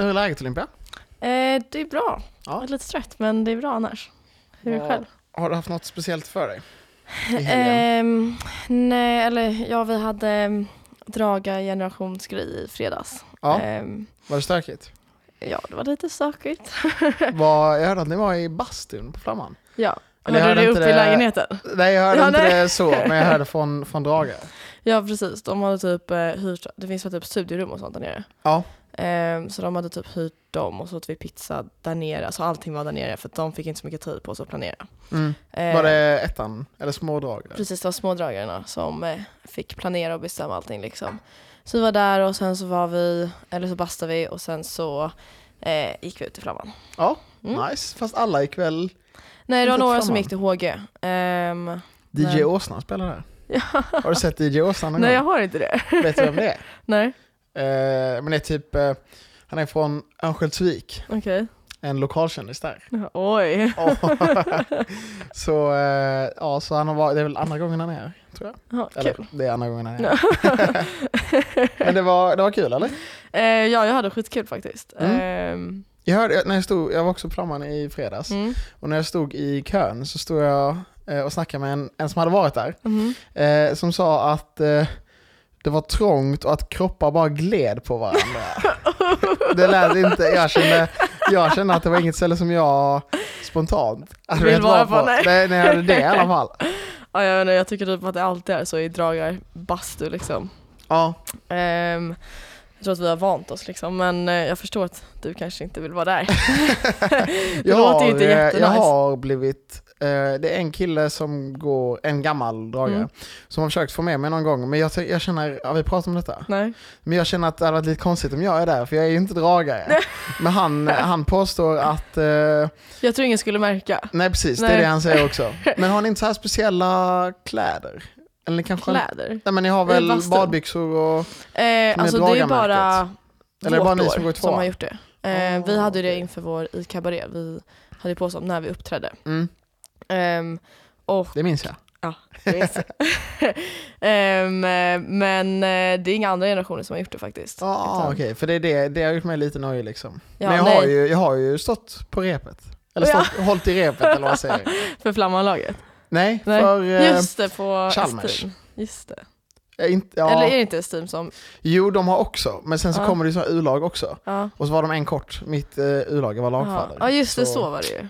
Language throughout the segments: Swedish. Hur är läget Olympia? Eh, det är bra. Ja. Jag är lite trött, men det är bra annars. Hur är det Vad- själv? Har du haft något speciellt för dig? I helgen? Ehm, nej, eller ja, vi hade ehm, draga generationsgrej i fredags. ja, Ehm, var det stökigt? ja, det var lite stökigt. Var, jag hörde att ni var i bastun på Flamman. ja. Eller jag hörde Hörde du det inte uppe i det- lägenheten? Nej, jag hörde Ja, inte nej. det så, men jag hörde från, från Drage. Ja, precis. De hade typ eh, hyrt, det finns väl typ studierum och sånt där nere. Ja. Ehm, så de hade typ hyrt dem och så åt vi pizza där nere. Alltså allting var där nere för att de fick inte så mycket tid på sig att planera. Mm. Ehm, Var det ettan, eller smådrag? Precis, det var smådragarna som eh, fick planera och bestämma allting liksom. Så vi var där och sen så var vi, eller så bastade vi och sen så eh, gick vi ut i Flamman. Ja, Mm. nice. Fast alla gick väl... Nej, det var Inte några Flamman. som gick till HG. Ehm, DJ Nej. Åsnan spelar där. ja. Har du sett DJ Åsnan någon Nej, jag gång? har inte det. Vet du vem det är? Nej, Eh, men det är typ, eh, han är från Örnsköldsvik, okej. en lokalkändis där. Oj. så, eh, ja, så han har varit, det är väl andra gången han är här, tror jag. Ja, Eller kul. det är andra gången han är här. Men det var, det var kul eller? Eh, ja, jag hade skitkul faktiskt. Mm. Ehm, Jag hörde, när jag stod, jag var också på Flamman i fredags, mm. och när jag stod i kön så stod jag eh, och snackade med en, en som hade varit där, Mhm. eh, som sa att eh, det var trångt och att kroppar bara gled på varandra. det lät inte, jag kände, jag kände att det var inget ställe som jag spontant hade Vill velat vara på, nej. Nej, nej, jag hade det i alla fall. Ja, jag, vet inte, jag tycker typ att det alltid är så i dragarbastu liksom. Ja, Ehm, jag tror att vi har vant oss liksom, men eh, jag förstår att du kanske inte vill vara där. det jag, låter ju inte har, eh, jättenice. jag har blivit, eh, det är en kille som går, en gammal dragare, Mm. som har försökt få med mig någon gång, men jag, ty- jag känner, ja, vi pratar om detta, Nej. men jag känner att det hade varit lite konstigt om jag är där, för jag är ju inte dragare. men han, han påstår att, eh, Jag tror ingen skulle märka. nej precis, det Nej. är det han säger också. Men har ni inte så här speciella kläder? Eller kanske? Kläder. Nej men ni har väl I bastun. badbyxor och, Eh, alltså det är ju bara Eller är det bara vårt ni år som går i tvåan? har gjort det. Eh, Ah, vi hade ju det okej. inför vår i cabaret. Vi hade ju på oss dem när vi uppträdde. mm, Ehm, och det minns jag. Ehm, eh, men eh, det är inga andra generationer som har gjort det faktiskt. Ja, ah, Utan- okej, för det är det, det har gjort mig lite nöjd liksom. Ja, men jag nej, har, ju, jag har ju stått på repet. Eller Oh, ja. stått, hållit i repet eller vad jag säger. För Flammanlaget. Nej, Nej, för... eh, Just det, på Chalmers. Estim. Just det. eh, inte, ja. Eller är det inte Estim som... Jo, de har också, men sen så Ja. kommer det ju så här U-lag också. Ja. Och så var de en kort, mitt eh, U-lag var lagfader. Ja, Ja, just det, så var det ju.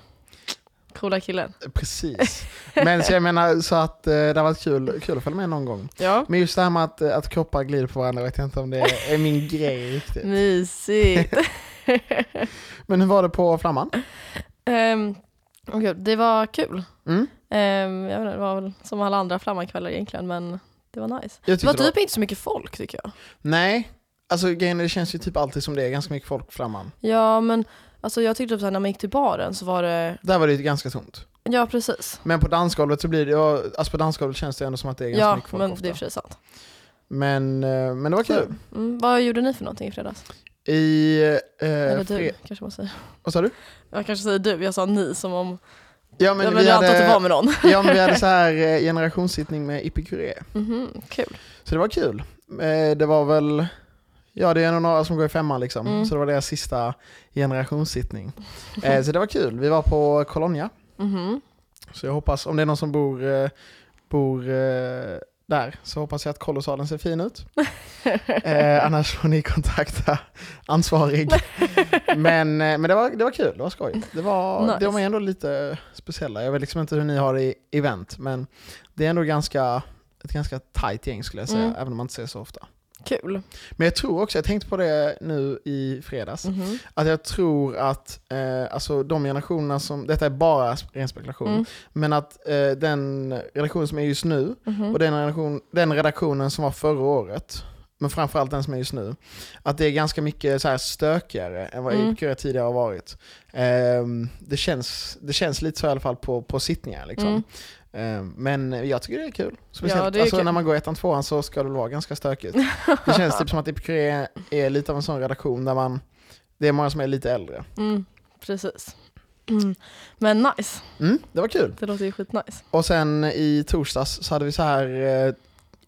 Coola killen. eh, Precis. Men så jag menar, så att eh, det har varit kul, kul att följa med någon gång. Ja. Men just det här med att, eh, att kroppar glider på varandra vet jag inte om det är min grej riktigt. Mm. Mysigt. Men hur var det på Flamman? Ehm, och gud, det var kul. Mm? Ehm, jag vet inte, det var väl som alla andra flammankvällar egentligen, men det var nice. Jag Det var tyckte det typ inte så mycket folk tycker jag. Nej, alltså grejen är, det känns ju typ alltid som det är ganska mycket folk på Flamman. Ja, men alltså, jag tyckte typ såhär, när man gick till baren så var det, Där var det ju ganska tomt. ja precis. Men på dansgolvet så blir det, ja, alltså på dansgolvet känns det ändå som att det är ganska Ja, mycket folk men ofta. det är i och för sig sant. Men, eh, men det var kul. Mm, vad gjorde ni för någonting i fredags? I, eh, Eller du, fre- kanske man säger. Vad sa du? Jag kanske säger du, jag sa ni som om, Ja men men, ja, men vi, jag antar att det var hade, med någon. ja, men vi hade så här eh, generationssittning med Epikure. Mhm, kul. Så det var kul. Eh, det var väl, ja det är nog några som går i femman liksom. Mm. Så det var deras sista generationssittning. Eh, så det var kul. Vi var på Colonia. Mhm. Så jag hoppas, om det är någon som bor, eh, bor eh, där, så hoppas jag att kollosalen ser fin ut. Eh, annars får ni kontakta ansvarig. Men, eh, men det, var, det var kul, det var skoj. Det var, Nice. De är ändå lite speciella. Jag vet liksom inte hur ni har det i event, men det är ändå ganska, ett ganska tight gäng skulle jag säga, Mm. även om man inte ser så ofta. Kul. Men jag tror också, jag tänkte på det nu i fredags, Mhm. att jag tror att eh, alltså de generationerna som, detta är bara ren spekulation, Mm. men att eh, den relation som är just nu Mhm. och den, relation, den redaktionen som var förra året, men framförallt den som är just nu, att det är ganska mycket så här stökigare än vad Mm. IPQ tidigare har varit. Ehm, det, känns, det känns lite så i alla fall på, på sittningar. Liksom. Mm. Ehm, men jag tycker det är kul. Speciellt det är alltså, kul. när man går ettan, tvåan så ska det väl vara ganska stökigt. Det känns typ som att IPQ är, är lite av en sån redaktion där man, det är många som är lite äldre. Mm, precis. Mm. Men nice, Mm, det var kul. det låter ju skitnice. Och sen i torsdags så hade vi så här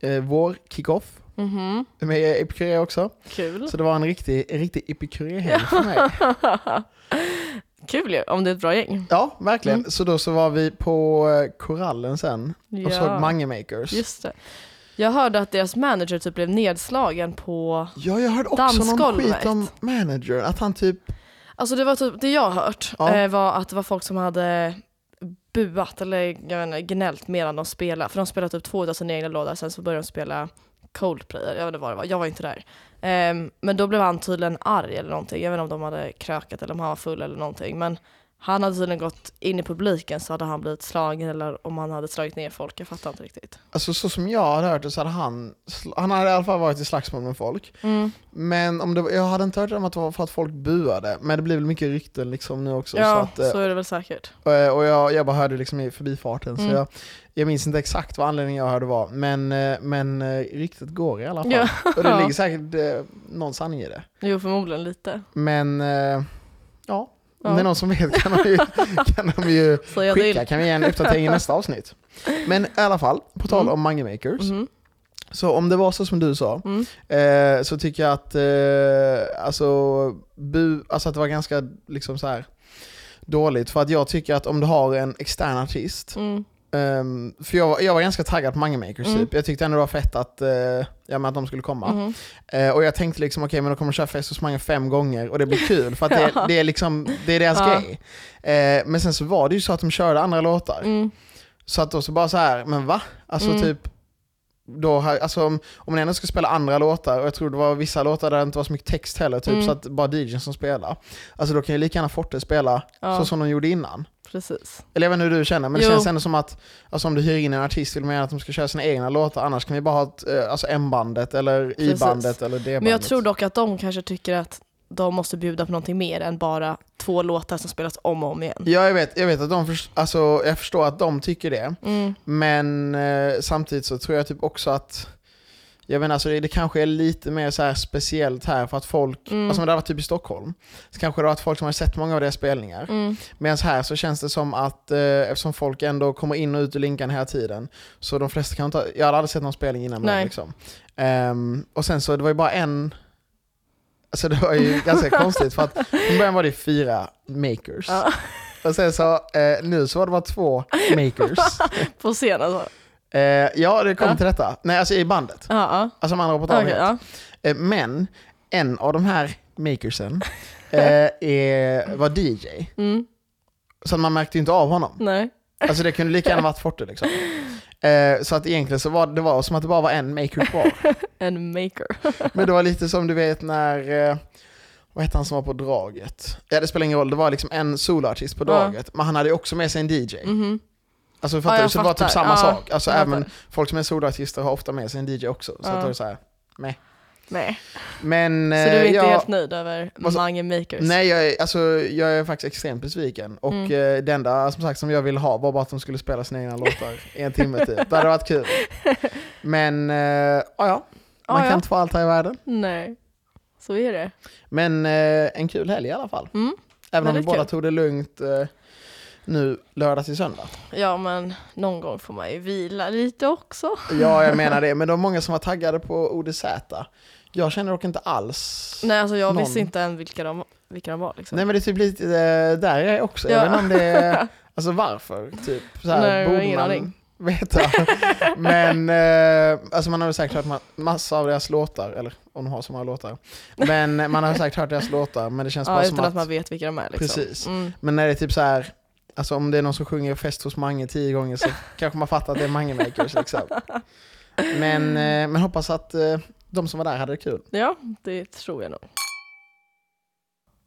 eh, eh, vår kickoff. Mhm. med epikuré också. Kul. Så det var en riktig, en riktig epikuréhelg för mig. Kul ju, om det är ett bra gäng. Ja, verkligen. Mm. Så då så var vi på eh, Korallen sen och såg Mange Makers. Just det. Jag hörde att deras manager typ blev nedslagen på... Ja, jag hörde också någon Dansgolvet. skit om manager. Att han typ, Alltså det var typ, det jag har hört Ja. eh, var att det var folk som hade buat eller jag vet inte, gnällt medan de spelade. För de spelade typ två av sina egna låtar, sen så började de spela Coldplay, jag vet inte vad det var, jag var inte där. Ehm, men då blev han tydligen arg eller någonting, jag vet inte om de hade krökat eller om han var full eller någonting. Men han hade tydligen gått in i publiken så hade han blivit slagen eller om han hade slagit ner folk, jag fattar inte riktigt. alltså så som jag hade hört det så hade han, sl- han hade i alla fall varit i slagsmål med folk. Mm. Men om det, var- jag hade inte hört om att det var för att folk buade, men det blir väl mycket rykten liksom nu också. så ja, att, så, eh, är det väl säkert. Eh, Och jag, jag bara hörde liksom i förbifarten, Mm. så jag, jag minns inte exakt vad anledningen jag hörde var. Men, eh, men eh, ryktet går i alla fall. Ja. Och det ligger säkert eh, någon sanning i det. Jo, förmodligen lite. Men eh, ja, Ja. om det är någon som vet kan de ju, kan de ju Så jag skicka, till. kan vi ge en uppdatering i nästa avsnitt. Men i alla fall, på tal Mm. om Mange Makers. Mhm. Så om det var så som du sa, Mm. eh, så tycker jag att, eh, alltså, bu, alltså att det var ganska liksom så här dåligt. För att jag tycker att om du har en extern artist, Mm. ehm, för jag, var- jag var ganska taggad på Mange Makers Mm. typ. Jag tyckte ändå det var fett att, eh, ja, men att de skulle komma. Mhm. Eh, och jag tänkte liksom, okej men de kommer köra fest hos Mange fem gånger och det blir kul för att det, Ja. det, är, liksom, det är deras Ja. grej. Eh, men sen så var det ju så att de körde andra låtar. Mm. Så att då så bara så här, men va? Alltså Mm. typ, då, har- alltså om, om ni ändå ska spela andra låtar, och jag tror det var vissa låtar där det inte var så mycket text heller, typ, Mm. så att det bara DJn som spelar. Alltså då kan ju lika gärna Forte spela Ja, så som de gjorde innan. precis. Eller jag vet inte hur du känner, men Jo. det känns ändå som att alltså, om du hyr in en artist vill man gärna att de ska köra sina egna låtar, annars kan vi bara ha ett, eh, alltså M-bandet eller Precis. I-bandet eller D-bandet. Men jag tror dock att de kanske tycker att de måste bjuda på någonting mer än bara två låtar som spelas om och om igen. Ja, jag vet, jag vet att de förs- alltså, jag förstår att de tycker det. Mm. Men eh, samtidigt så tror jag typ också att jag menar, alltså det, det kanske är lite mer så här speciellt här för att folk, Mm. alltså om det hade varit typ i Stockholm, så kanske det hade varit folk som har sett många av deras spelningar. Mm. Medan här så känns det som att eh, eftersom folk ändå kommer in och ut ur linkan hela tiden, så de flesta kan inte, jag hade aldrig sett någon spelning innan. Nej. Men, liksom. Ehm, och sen så det var ju bara en, alltså det var ju ganska konstigt för att från början var det fyra makers. Ja, Och sen så, eh, nu så var det bara två makers. på scen alltså. Eh, ja, det kom Ja. till detta. Nej, alltså i bandet. Ja, Alltså de andra på ja. taget. Okej, ja. eh, Men en av de här makersen eh, är, var DJ. Mm. Så man märkte ju inte av honom. Nej. Alltså det kunde lika gärna varit Forte liksom. Eh, så att egentligen så var det var som att det bara var en maker kvar. En maker. Men det var lite som du vet när, eh, vad hette han som var på draget? Ja det spelar ingen roll, det var liksom en soloartist på Ja. draget. Men han hade ju också med sig en DJ. Mhm. Alltså fattar Ja, du? jag Så det var typ fattar. samma Ja, sak. Alltså jag även fattar. folk som är soloartister har ofta med sig en DJ också. Så Ja. att då är det så här. Nej. Nej. Men, Så du är eh, inte jag, helt nöjd över Vad sa- Mange Makers? Nej, jag är, alltså, jag är faktiskt extremt besviken. Och Mm. eh, det enda som, sagt, som jag ville ha var bara att de skulle spela sina egna låtar i en timme typ. Det hade varit kul. Men, eh, ja, ja. Man Ah, kan ja. inte få allt här i världen. Nej. Så är det. Men eh, en kul helg i alla fall. Mm. Även om vi väldigt båda kul. tog det lugnt eh, nu lördag till söndag. Ja, men någon gång får man ju vila lite också. Ja, jag menar det. Men det var många som var taggade på ODZ. Jag känner dock inte alls. Nej, alltså jag Någon. visste inte än vilka de, vilka de var liksom. Nej, men det är typ lite eh, där jag är också. Jag Ja. vet inte om det är, alltså varför? Typ så här, Nej, jag har borde ingen man aning. veta. men eh, alltså man har väl säkert hört ma- massa av deras låtar, eller om de har så många låtar. Men eh, man har säkert hört deras låtar, men det känns ja, bara utan som att... att, man vet vilka de är liksom. Precis. Mm. Men när det är typ så här, alltså om det är någon som sjunger Fest hos Mange tio gånger så kanske man fattar att det är Mange Makers liksom. Men, eh, men hoppas att eh, de som var där hade det kul. Ja, det tror jag nog.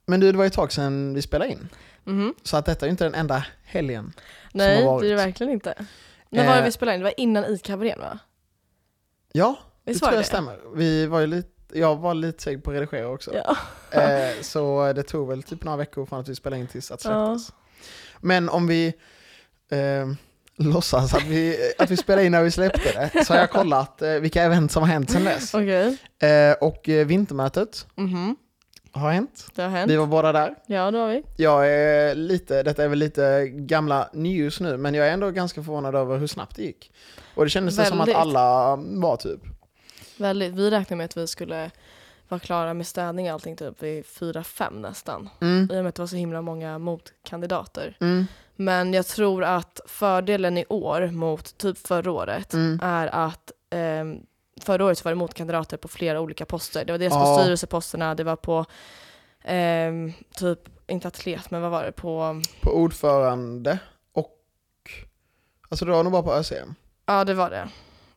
Men du, det var ju ett tag sedan vi spelade in. Mhm. Så att detta är ju inte den enda helgen. Nej, har varit. det är det verkligen inte. När var det Eh, vi spelade in? Det var innan ICA-kabarén va? Ja, det Visst tror var jag det stämmer. Vi var ju lite, jag var lite seg på att redigera också. Ja. Eh, så det tog väl typ några veckor från att vi spelade in tills att Ja. släpptes. Men om vi eh, låtsas att vi, att vi spelade in när vi släppte det, så har jag kollat eh, vilka event som har hänt sedan dess. Okej. Eh, och eh, vintermötet Mhm. har hänt. Det har hänt. Vi var båda där. Ja, det har vi. Jag är lite, detta är väl lite gamla news nu, men jag är ändå ganska förvånad över hur snabbt det gick. Och det kändes det som att Väldigt. alla var mm, typ. Väldigt, vi räknade med att vi skulle vara klara med städning och allting typ vid fyra fem nästan. Mm. I och med att det var så himla många motkandidater. Mm. Men jag tror att fördelen i år mot typ förra året Mm. är att ehm, förra året så var det motkandidater på flera olika poster. Det var dels på Ja. styrelseposterna, det var på ehm, typ, inte atlet, men vad var det? På, På ordförande och... Alltså det var nog bara på ÖCM. ja det var det.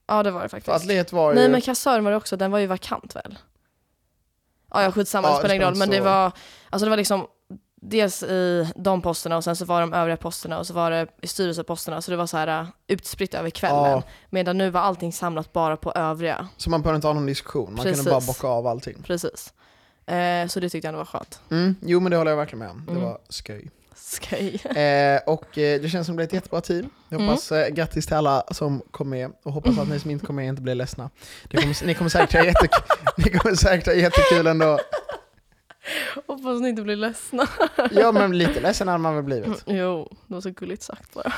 Ja det var det För faktiskt. atlet var ju... Nej men kassör var det också, den var ju vakant väl? Ja, ja skitsamma, Ja, det spelar ingen det roll. spelar Men det inte så var, alltså det var liksom dels i de posterna och sen så var de övriga posterna och så var det i styrelseposterna. Så det var så här äh, utspritt över kvällen. Ja. Medan nu var allting samlat bara på övriga. Så man behövde inte ha någon diskussion, man Precis. kunde bara bocka av allting. Precis. Eh, så det tyckte jag ändå var skönt. Mm. Jo men det håller jag verkligen med om, det Mm. var skoj. Skoj. Eh, och eh, det känns som det blir ett jättebra team. Jag Mm. hoppas, eh, grattis till alla som kom med och hoppas att ni som inte kom med inte blir ledsna. Det kommer, ni, kommer säkert ha jättek- ni kommer säkert ha jättekul ändå. Hoppas ni inte blir ledsna. Ja men lite ledsen hade man väl blivit. Jo, det var så gulligt sagt bara.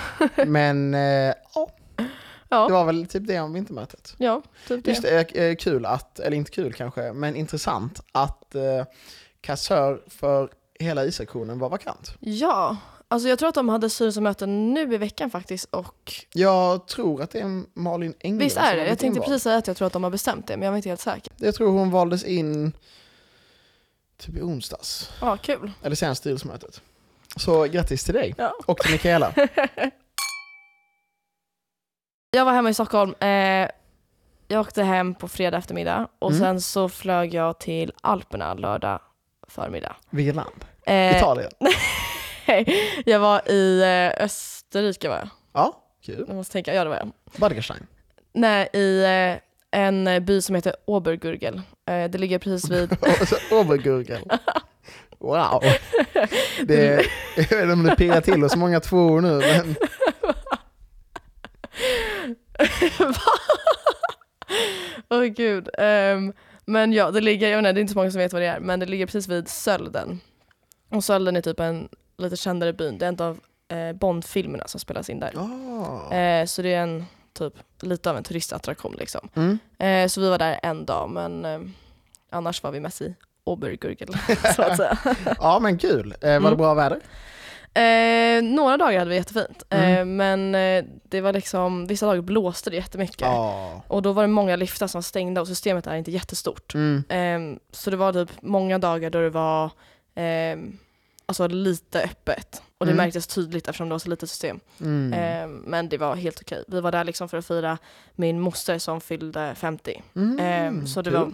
Men eh, ja, det Mm. Ja, var väl typ det om vintermötet. ja typ det. Just det, eh, kul att, eller inte kul kanske, men intressant att eh, kassör för hela isektionen var vakant. Ja, alltså jag tror att de hade styrelsemöte nu i veckan faktiskt och Jag tror att det är Malin Engel Visst som har är Mm, det? blivit Jag tänkte invald. precis säga att jag tror att de har bestämt det, men jag var inte helt säker. Jag tror hon valdes in typ i onsdags, Ja, ah, kul. eller senast styrelsemötet. Så grattis till dig Ja. och till Mikaela. Jag var hemma i Stockholm. Eh, jag åkte hem på fredag eftermiddag och Mm. sen så flög jag till Alperna lördag förmiddag. Vilket land? Eh, Italien? jag var i eh, Österrike var jag. Ja, kul. Jag måste tänka, ja det var jag. Badgerstein? Nej, i eh, en by som heter Obergurgel. Eh, det ligger precis vid... Och så Obergurgel? Wow. Det är, jag vet inte om det pirrar till och så många tvåor nu, men Åh gud. Ehm, men ja, det ligger, jag vet inte, det är inte så många som vet vad det är, men det ligger precis vid Sölden. Och Sölden är typ en lite kändare byn. Det är en av eh, Bondfilmerna som spelas in där. ja. Eh, så det är en typ lite av en turistattraktion liksom. Mm. Eh, så vi var där en dag, men eh, annars var vi mest i Obergurgel så att säga. Ja men kul. Eh, var det Mm. bra väder? Eh, några dagar hade vi jättefint, eh, Mm. men eh, det var liksom, vissa dagar blåste det jättemycket. Ja. Och då var det många liftar som var stängda och systemet är inte jättestort. Mm. Ehm, så det var typ många dagar då det var ehm, alltså lite öppet. Och det Mm. märktes tydligt eftersom det var så litet system. Mm. Ehm, men det var helt okej. Vi var där liksom för att fira min moster som fyllde 50. Mm. Ehm, så det Kul. var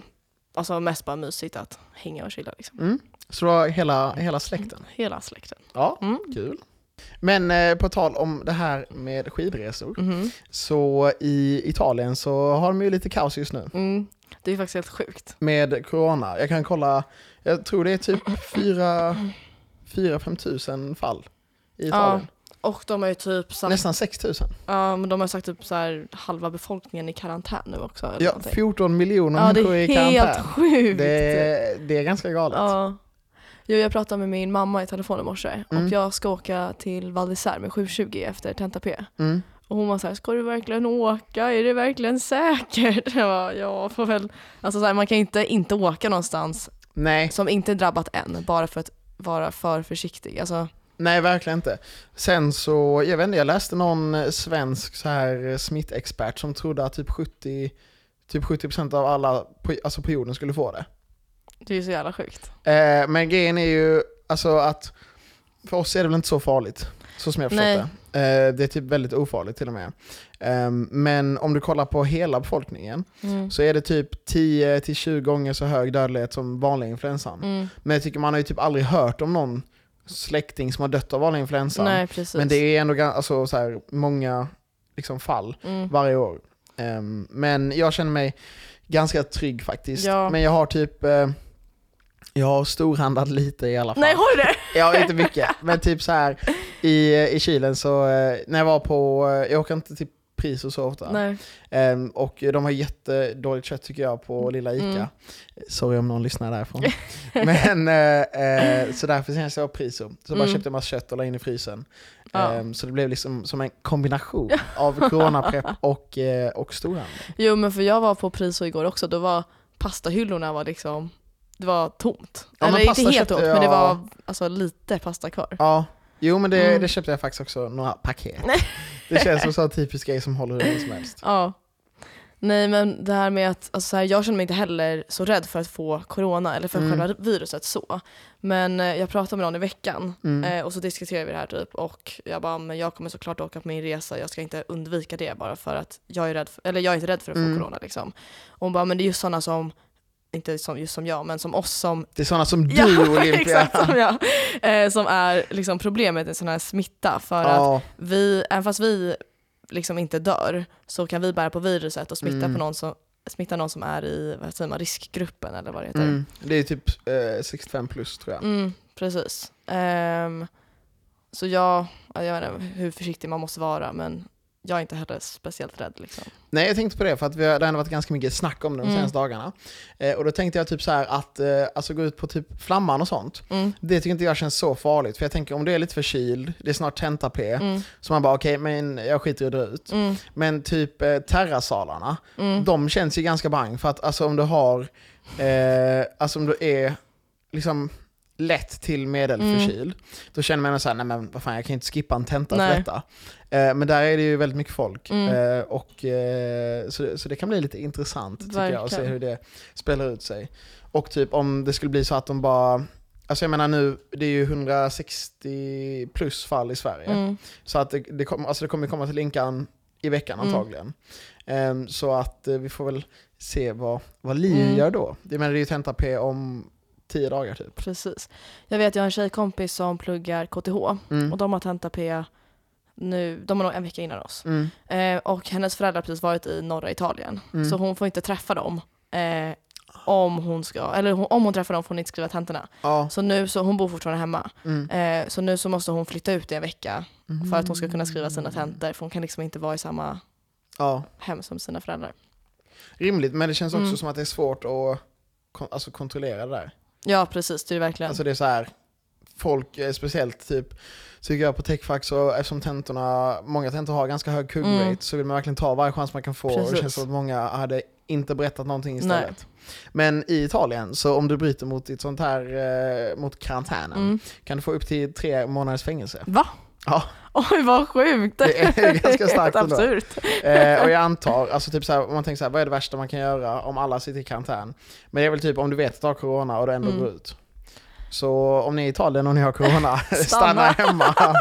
alltså, mest bara mysigt att hänga och chilla. Liksom. Mm. Så det var hela, hela släkten? Hela släkten. Ja, Mm. Kul. Men eh, på tal om det här med skidresor, Mhm. så i Italien så har de ju lite kaos just nu Mm. Det är faktiskt helt sjukt. med corona. Jag kan kolla, jag tror det är typ 4-5 tusen fall i Italien. Och de har ju typ sagt, Nästan 6 tusen. ja, men de har sagt typ så här, halva befolkningen i karantän nu också. Eller Ja, någonting. 14 miljoner ja det människor i är helt karantän. sjukt. Det, är- det är ganska galet. Ja. Jo, jag pratade med min mamma i telefon i morse Mm. och jag ska åka till Val d'Isère med 7.20 efter tenta P. Mm. Och hon var så här, ska du verkligen åka? Är det verkligen säkert? Jag bara, ja, får väl. Alltså så här, man kan inte inte åka någonstans Nej, som inte är drabbat än bara för att vara för försiktig. Alltså, Nej, verkligen inte. Sen så, jag vet inte, jag läste någon eh, svensk så här eh, smittexpert som trodde att typ 70 Typ 70% av alla på, alltså på jorden skulle få det. det är ju så jävla sjukt. Eh, men grejen är ju alltså att för oss är det väl inte så farligt, så som jag förstått Nej. det. Eh, det är typ väldigt ofarligt till och med. Eh, men om du kollar på hela befolkningen Mm. så är det typ 10-20 gånger så hög dödlighet som vanlig influensan. Mm. Men jag tycker man har ju typ aldrig hört om någon släkting som har dött av vanlig influensa. Nej, precis. Men det är ändå gan- alltså, så här, många liksom, fall mm. varje år. Ehm, men jag känner mig ganska trygg faktiskt. Ja. Men jag har typ eh, jag har storhandlat lite i alla fall. Nej, har du det? Ja, inte mycket. Men typ så här i, i Kilen så, eh, när jag var på, eh, jag åker inte till priser så ofta. Nej. Ehm, och de har jättedåligt kött tycker jag på lilla Ica. Mm. Sorry om någon lyssnar därifrån. Men, eh, eh, så därför känns det var priser. Så bara Mm. köpte jag massa kött och la in i frysen. Ja. Ehm, så det blev liksom som en kombination av coronaprepp och, eh, och storhandel. Jo men för jag var på Priso igår också, då var pastahyllorna var liksom, det var tomt. Ja, men Eller inte pasta helt köpte tomt, men det jag- var alltså lite pasta kvar. Ja, jo men det, Mm. det köpte jag faktiskt också, några paket. Det känns som en sån typisk grej som håller hur länge som helst. Ja. Nej men det här med att, alltså så här, jag känner mig inte heller så rädd för att få corona eller för Mm. själva viruset så. Men eh, jag pratade med någon i veckan Mm. eh, och så diskuterade vi det här typ och jag bara, men jag kommer såklart åka på min resa, jag ska inte undvika det bara för att jag är, rädd för, eller jag är inte rädd för att få Mm. corona liksom. Och hon bara, men det är just sådana som, inte som, just som jag, men som oss som Det är sådana som du Olympia. exakt som jag. Eh, som är liksom problemet med sån här smitta. För att Ja, vi, även fast vi liksom inte dör så kan vi bära på viruset och smitta, Mm. på någon, som, smitta någon som är i vad säger man, riskgruppen eller vad det heter. Mm, mm. det är typ eh, 65 plus tror jag. precis. Ehm, så jag, ja, jag vet inte hur försiktig man måste vara men jag är inte heller speciellt rädd. Liksom. Nej, jag tänkte på det för att vi har, det har ändå varit ganska mycket snack om det de Mm. senaste dagarna. Eh, och då tänkte jag typ så här att eh, alltså gå ut på typ Flamman och sånt. Mm, Det tycker inte jag känns så farligt. För jag tänker om du är lite förkyld, det är snart tenta-P, mm, så man bara okej, men jag skiter i att dra ut. mm, Men typ eh, terrasalarna, mm. de känns ju ganska bang. För att alltså om du har, eh, alltså om du är liksom lätt till medelförkyld, då känner man så här, nej men vad fan jag kan ju inte skippa en tenta Mm. Nej. för detta. Eh, men där är det ju väldigt mycket folk. Mm. Eh, och, eh, så, så det kan bli lite intressant tycker jag, att se Verkligen. hur det spelar ut sig. Och typ om det skulle bli så att de bara, alltså jag menar nu, det är ju 160 plus fall i Sverige. Mm. Så att det, det, kom, alltså det kommer komma till Linkan i veckan Mm. antagligen. Ehm, så att eh, vi får väl se vad, vad Liv Mm. gör då. Det, men det är ju tenta-P om tio dagar typ. Precis. Jag vet, jag har en tjejkompis som pluggar KTH Mm. och de har tenta P nu, de har nog en vecka innan oss. Mm. Eh, och hennes föräldrar har precis varit i norra Italien. Mm. Så hon får inte träffa dem. Eh, om hon ska, eller hon, om hon träffar dem får hon inte skriva tentorna. Ja. Så nu, så hon bor fortfarande hemma. Mm. Eh, så nu så måste hon flytta ut i en vecka för att hon ska kunna skriva sina tentor. För hon kan liksom inte vara i samma Ja. hem som sina föräldrar. Rimligt, men det känns också Mm. som att det är svårt att kon- alltså, kontrollera det där. Ja precis, det är det verkligen. Alltså det är så här, folk, eh, speciellt typ, tycker jag på Techfack, så eftersom tentorna, många tentor har ganska hög kug Mm. rate, så vill man verkligen ta varje chans man kan få. Och det Precis. känns som att många hade inte berättat någonting istället. Men i Italien, så om du bryter mot ditt sånt här, eh, mot karantänen, mm. kan du få upp till tre månaders fängelse. Va? Ja. Oj vad sjukt! Det är ganska starkt Helt ändå. absurt. Eh, och jag antar, alltså typ så här, om man tänker så här, vad är det värsta man kan göra om alla sitter i karantän? Men det är väl typ om du vet att du har corona och du ändå Mm. går ut. Så om ni är i Italien och ni har corona, stanna. Stanna. hemma.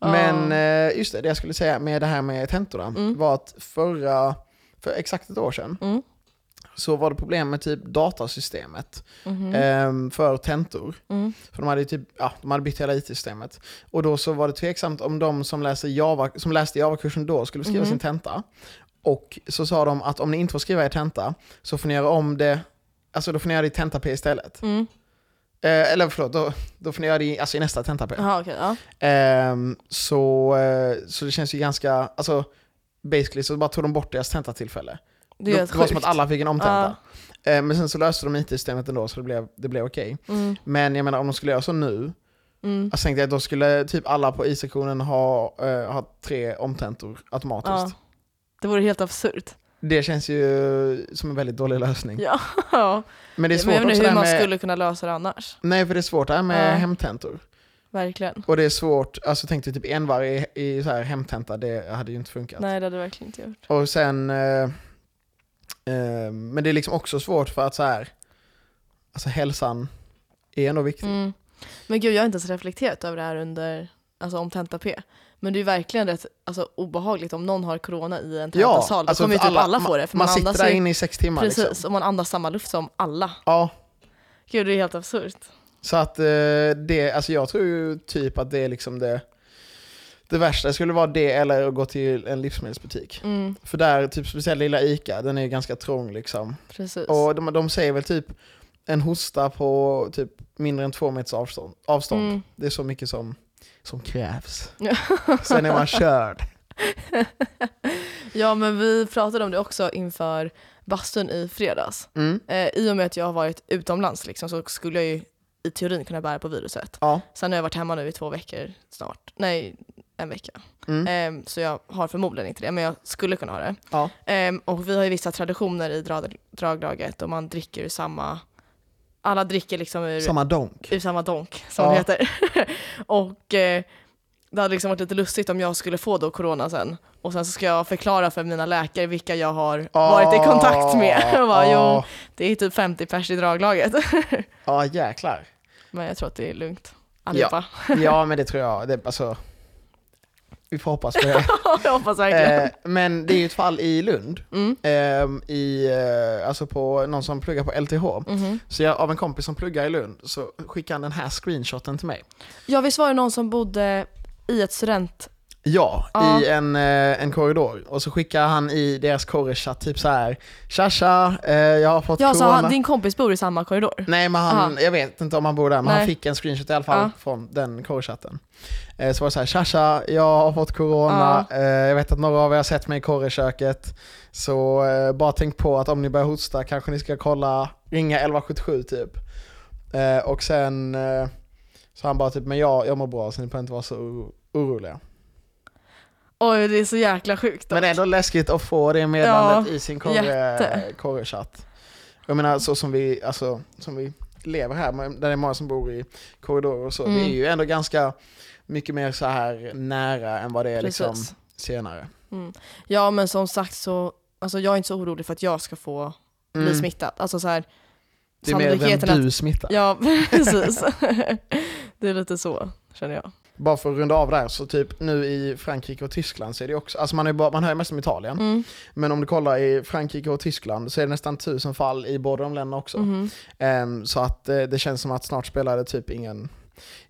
Men Ja. eh, just det, det jag skulle säga med det här med tentorna Mm. var att förra, för exakt ett år sedan, Mm. så var det problem med typ datasystemet Mhm. ehm, för tentor. Mm. För de hade, ju typ, ja, de hade bytt hela IT-systemet. Och då så var det tveksamt om de som, läser Java, som läste Java-kursen då skulle skriva Mhm. sin tenta. Och så sa de att om ni inte får skriva er tenta så får ni göra om det, alltså då får ni göra det i tenta-P istället. Mm. Eh, eller förlåt, då, då får ni göra det i, alltså i nästa tenta-P. Jaha okej, ja. Ehm, så, eh, så det känns ju ganska, alltså basically så bara tog de bort deras tentatillfälle. Det Det, är det helt var som sjukt. att alla fick en omtenta. Eh, men sen så löste de IT-systemet ändå så det blev, det blev okej. Mm. Men jag menar om de skulle göra så nu, Mm. jag tänkte jag att då skulle typ alla på I-sektionen ha, eh, ha tre omtentor Ja. automatiskt. Det vore helt absurt. Det känns ju som en väldigt dålig lösning. Ja. Ja, Mm. Men det är men svårt jag vet också inte det hur här man med, skulle kunna lösa det annars. Nej för det är svårt det här med Ja. hemtentor. Verkligen. Och det är svårt, alltså tänkte typ en varje i så här hemtenta, det hade ju inte funkat. Nej, det hade jag verkligen inte gjort. Och sen, eh, eh, men det är liksom också svårt för att så här, alltså hälsan är ändå viktig. Mm. Men gud, jag har inte ens reflekterat över det här under, alltså om tenta-P. Men det är ju verkligen rätt alltså, obehagligt om någon har corona i en tentasal. Då alltså kommer ju för typ alla, få det. För man, man sitter andas där ju, inne i sex timmar Precis, liksom. och man andas samma luft som alla. Ja, Gud, det är helt absurt. så att eh, det, alltså jag tror ju typ att det är liksom det, det värsta skulle vara det eller att gå till en livsmedelsbutik. Mm, För där, typ speciellt lilla ICA, den är ju ganska trång liksom. precis. Och de, de säger väl typ en hosta på typ mindre än två meters avstånd. avstånd. Mm. Det är så mycket som som krävs. Sen är man körd. Ja men vi pratade om det också inför bastun i fredags. Mm. Eh, I och med att jag har varit utomlands liksom, så skulle jag ju i teorin kunna bära på viruset. Ja. Sen har jag varit hemma nu i två veckor snart. Nej, en vecka. Mm. Eh, så jag har förmodligen inte det, men jag skulle kunna ha det. Ja. Eh, och vi har ju vissa traditioner i drag- draglaget och man dricker ur samma... Alla dricker liksom ur Samma donk. ur samma donk som Ja. det heter. och eh, det hade liksom varit lite lustigt om jag skulle få då corona sen och sen så ska jag förklara för mina läkare vilka jag har varit Ah. i kontakt med. Jag bara, Ja. jo, det är typ 50 pers i draglaget. Ja, jäklar. Men jag tror att det är lugnt. Allihopa. Ja, men det tror jag. Det, alltså, vi får hoppas på det. jag hoppas verkligen. Eh, men det är ju ett fall i Lund, Mm. ehm, i, eh, alltså på någon som pluggar på LTH. Mhm. Så jag, av en kompis som pluggar i Lund så skickade han den här screenshoten till mig. Ja, visst var det någon som bodde i ett student... Ja, Ja. i en, eh, en korridor. Och så skickar han i deras korrechatt typ så här. Tja tja, eh, jag har fått Ja, så corona. han, din kompis bor i samma korridor? Nej men han, jag vet inte om han bor där, men han Nej. fick en screenshot i alla fall Ja. från den korrechatten. Eh, så var det så här, tja tja, jag har fått corona, eh, jag vet att några av er har sett mig i korreköket. Så eh, bara tänk på att om ni börjar hosta kanske ni ska kolla, ringa 1177 typ. Eh, och sen eh, så han bara typ, men jag, jag mår bra så ni behöver inte vara så oro- oroliga. Oj, det är så jäkla sjukt. Men ändå läskigt att få det meddelandet i sin korre- jätte. korrechatt. Jag menar så som vi, alltså, som vi lever här, men där det är många som bor i korridorer och så. Mm. Det är ju ändå ganska mycket mer så här nära än vad det är liksom Precis. senare. Ja, men som sagt så, alltså jag är inte så orolig för att jag ska få bli smittad. Alltså så här, Mm. Det är mer vem sannolikheten du smittar. Ja, precis. det är lite så, känner jag. Bara för att runda av där, så typ nu i Frankrike och Tyskland så är det också, alltså man, är bara, man hör ju mest om Italien, Mm. men om du kollar i Frankrike och Tyskland så är det nästan tusen fall i båda de länderna också. Mhm. Ehm, så att eh, det känns som att snart spelar det typ ingen,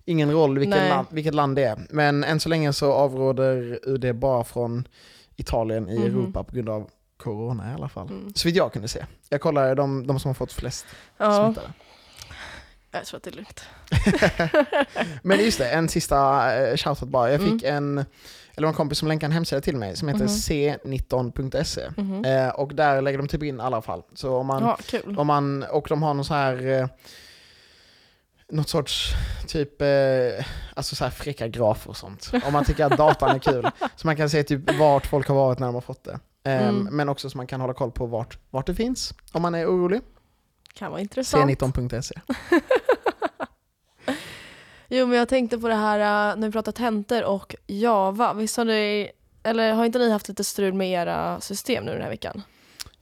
ingen roll vilken Nej. land, vilket land det är. Men än så länge så avråder UD bara från Italien i Mhm. Europa på grund av corona i alla fall. Mm. Så vitt jag kunde se. Jag kollade de, de som har fått flest Ja, smittade. jag tror att det är lugnt. Men just det, en sista eh, shoutout bara. Jag fick en, eller det var en kompis som länkade en hemsida till mig som heter Mm. Mhm. c19.se. Mhm. Eh, och där lägger de typ in alla fall. Så om man Ja, kul. Om man, och de har någon så här eh, något sorts typ eh, alltså så här fräcka grafer och sånt. Om man tycker att datan är kul. Så man kan se typ vart folk har varit när de har fått det. Ehm, Mm. Men också så man kan hålla koll på vart, vart det finns om man är orolig. Kan vara intressant. C19.se. Jo, men jag tänkte på det här eh, när vi pratat tentor och Java. Visst har ni, eller har inte ni haft lite strul med era system nu den här veckan?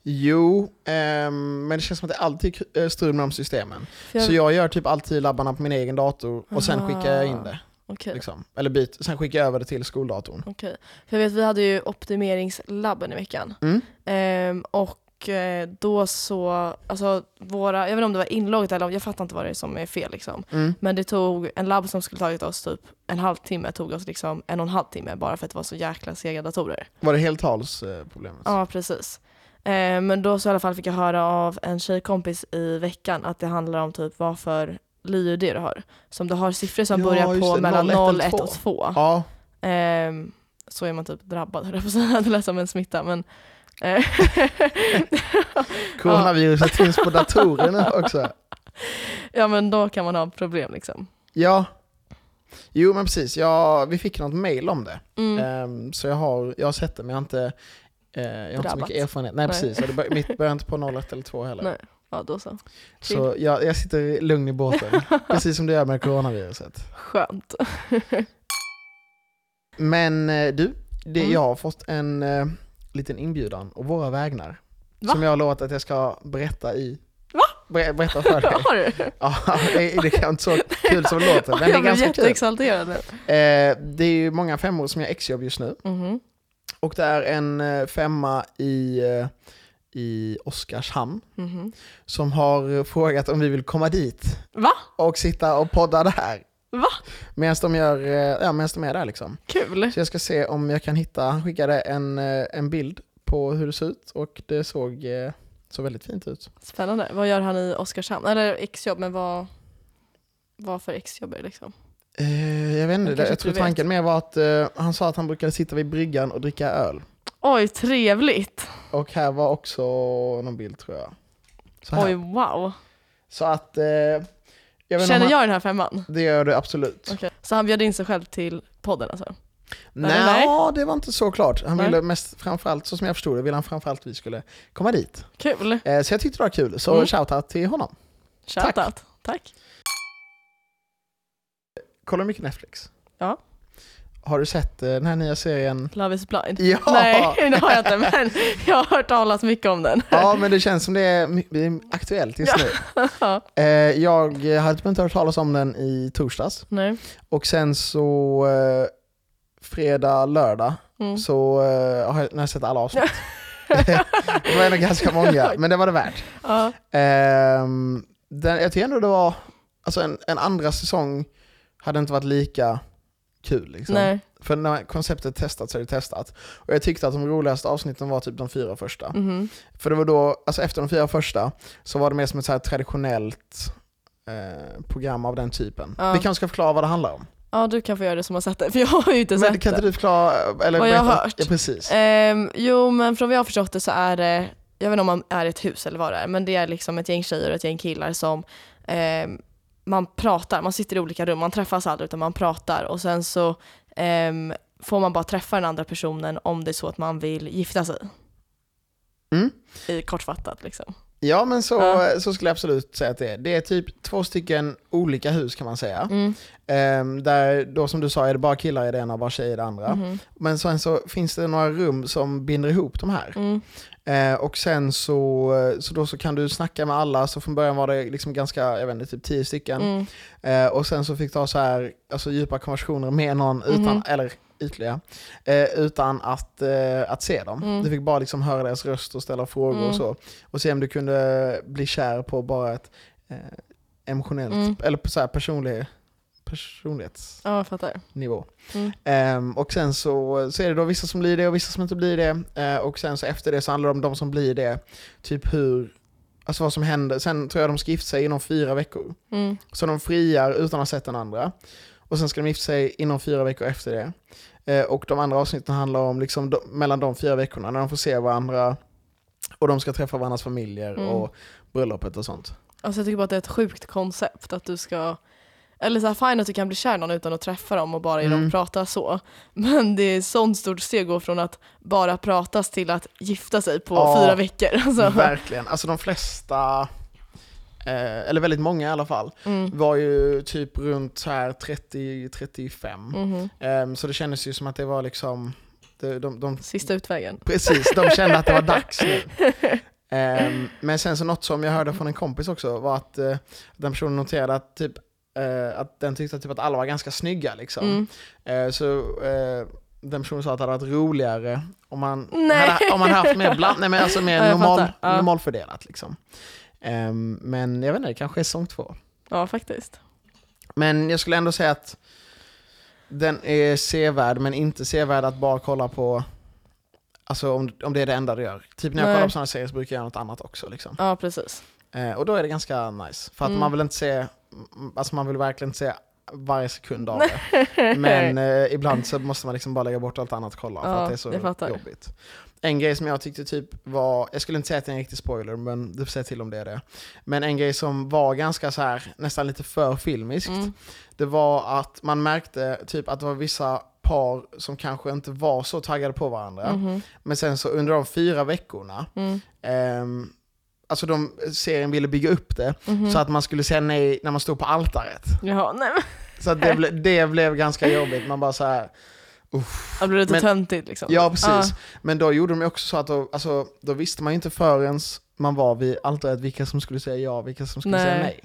Jo, ehm, men det känns som att det alltid är k- eh, strul med de systemen. För jag- Så jag gör typ alltid labbarna på min egen dator och sen Aha. skickar jag in det. Okej. Liksom. Eller byt, sen skickar jag över det till skoldatorn. Okej. För jag vet, vi hade ju optimeringslabben i veckan. Mm. Ehm, och eh, då så, alltså våra, jag vet inte om det var inlogget eller om, jag fattar inte vad det är som är fel liksom. Mm. Men det tog, en labb som skulle tagit oss typ en halvtimme tog oss liksom en och en halv timme bara för att det var så jäkla sega datorer. Var det eh, heltalsproblemet? Ja, precis. Eh, men då så i alla fall fick jag höra av en tjejkompis i veckan att det handlar om typ vad för LIUD du har. Som du har siffror som Ja, börjar just på det, mellan 0, 0, 1 1 och och 2. ja. Ehm, så är man typ drabbad höll jag på att säga, det lät som en smitta men eh, Coronaviruset finns på datorerna också. ja men då kan man ha problem liksom. Ja. Jo men precis, ja, vi fick något mail om det. Mm. Ehm, så jag har, jag har sett det men jag har inte, eh, jag har inte så Drabbats. mycket erfarenhet. Nej, Nej. precis, och det bör, mitt börjar inte på 01 eller 2 heller. Nej. typ. Ja då så. Så jag, jag sitter lugn i båten, precis som du gör med coronaviruset. Skönt. Men eh, du, det, Mm. jag har fått en eh, liten inbjudan och våra vägnar. Va? Som jag har lovat att jag ska berätta i. Va? Ber, berätta för dig. Har du? ja, det, det är inte så kul som det låter, men det är jag blev ganska kul. jätteexalterad nu. Eh, det är ju många femmor som gör exjobb just nu. Mhm. Och det är en eh, femma i, eh, i Oskarshamn Mhm. som har eh, frågat om vi vill komma dit Va? och sitta och podda där. Va? Medan de, gör, eh, ja, medan de är där liksom. Kul. Så jag ska se om jag kan hitta, han skickade en, eh, en bild på hur det ser ut och det såg, eh, såg väldigt fint ut. Spännande. Vad gör han i Oskarshamn? Eller exjobb, men vad, vad för exjobb är det liksom? Eh, jag vet Men inte, kanske jag tror inte du tanken mer var att eh, han sa att han brukade sitta vid bryggan och dricka öl. Oj, trevligt! Och här var också någon bild tror jag. Så, här. Oj, wow. så att... Eh, jag vet inte om han, Känner jag den här femman? Det gör du absolut. Okej. Så han bjöd in sig själv till podden alltså? Nej, det var inte så klart. Han Nej. ville mest, framförallt, så som jag förstod det, ville han framförallt att vi skulle komma dit. Kul! Eh, så jag tyckte det var kul, så Mm. shoutout till honom. Shoutout. Tack. Tack. Kollar du mycket Netflix? Ja. Har du sett eh, den här nya serien? Love is blind. Ja! Nej, det har jag inte, men jag har hört talas mycket om den. Ja, men det känns som det är my- det är aktuellt just nu. Ja. Eh, jag hade typ inte hört talas om den i torsdags. Nej. Och sen så eh, fredag, lördag Mm. så eh, har jag, när jag sett alla avsnitt. det var ändå ganska många, men det var det värt. Ja. Ehm, den, jag tycker ändå det var, alltså en, en andra säsong hade inte varit lika kul. Liksom. Nej. För när konceptet testat så är det testat. Och jag tyckte att de roligaste avsnitten var typ de fyra första. Mhm. För det var då, alltså efter de fyra första, så var det mer som ett så här traditionellt eh, program av den typen. Ja. Vi kanske ska förklara vad det handlar om. Ja, du kan få göra det som har sett det, för jag har ju inte Men sett kan det. inte du förklara? Eller Vad jag har berätta? hört. Ja, precis. Ehm, jo, men från vad jag har förstått det så är det, jag vet inte om man är ett hus eller vad det är, men det är liksom ett gäng tjejer och ett gäng killar som ehm, man pratar, man sitter i olika rum, man träffas aldrig utan man pratar och sen så ehm, får man bara träffa den andra personen om det är så att man vill gifta sig. Mm. I kortfattat liksom. Ja men så, Ja. så skulle jag absolut säga att det är. Det är typ två stycken olika hus kan man säga. Mm. Ehm, där då som du sa är det bara killar i det ena och bara tjejer i det andra. Mhm. Men sen så finns det några rum som binder ihop de här. Mm. Eh, och sen så, så, då så kan du snacka med alla, så från början var det liksom ganska, jag vet inte, typ tio stycken. Mm. Eh, och sen så fick du ha så här, alltså djupa konversationer med någon, utan, Mhm. eller ytliga, eh, utan att, eh, att se dem. Mm. Du fick bara liksom höra deras röst och ställa frågor Mm. och så. Och se om du kunde bli kär på bara ett eh, emotionellt, Mm. eller på så här personlig, personlighets Ja, jag fattar. nivå. Mm. Ehm, och sen så, så är det då vissa som blir det och vissa som inte blir det. Eh, och sen så efter det så handlar det om de som blir det, typ hur, alltså vad som händer. Sen tror jag de ska gifta sig inom fyra veckor. Mm. Så de friar utan att ha sett den andra. Och sen ska de gifta sig inom fyra veckor efter det. Eh, och de andra avsnitten handlar om liksom de, mellan de fyra veckorna när de får se varandra och de ska träffa varandras familjer Mm. och bröllopet och sånt. Alltså jag tycker bara att det är ett sjukt koncept att du ska eller så här, fine att du kan bli kär i någon utan att träffa dem och bara genom Mm. att prata så. Men det är ett sånt stort steg att gå från att bara pratas till att gifta sig på Ja. fyra veckor. Alltså. Verkligen. Alltså de flesta, eh, eller väldigt många i alla fall, Mm. var ju typ runt så här 30-35. Mhm. Ehm, så det kändes ju som att det var liksom, de, de, de, Sista utvägen. precis, de kände att det var dags nu. Ehm, men sen så något som jag hörde från en kompis också var att eh, den personen noterade att, typ, eh, att den tyckte typ att alla var ganska snygga. Liksom. Mm. Eh, så eh, den personen sa att det hade varit roligare om man, Nej. hade, om man haft mer, bland, nej, men alltså mer Ja, jag normal, fattar. Ja. normalfördelat. Liksom. Ehm, men jag vet inte, det kanske är säsong två. Ja faktiskt. Men jag skulle ändå säga att den är sevärd, men inte sevärd att bara kolla på Alltså om, om det är det enda du gör. Typ när jag Nej. kollar på sådana serier så brukar jag göra något annat också. Liksom. Ja precis. Eh, och då är det ganska nice. För att Mm. man vill inte se, alltså man vill verkligen inte se varje sekund av det. Mm. Men eh, ibland så måste man liksom bara lägga bort allt annat och kolla Ja, för att det är jag så fattar. jobbigt. En grej som jag tyckte typ var, jag skulle inte säga att det är en riktig spoiler, men du får säga till om det är det. Men en grej som var ganska så här, nästan lite för filmiskt, Mm. det var att man märkte typ att det var vissa par som kanske inte var så taggade på varandra. Mhm. Men sen så under de fyra veckorna, Mm. ehm, alltså de, serien ville bygga upp det Mhm. så att man skulle säga nej när man stod på altaret. Jaha, nej men. Så att det, ble, det blev ganska jobbigt, man bara så här. Jag blir lite Men- töntigt liksom. ja precis. Men då gjorde de ju också så att då, alltså, då visste man ju inte förrän man var vid altaret vilka som skulle säga ja, vilka som skulle säga Nej. nej.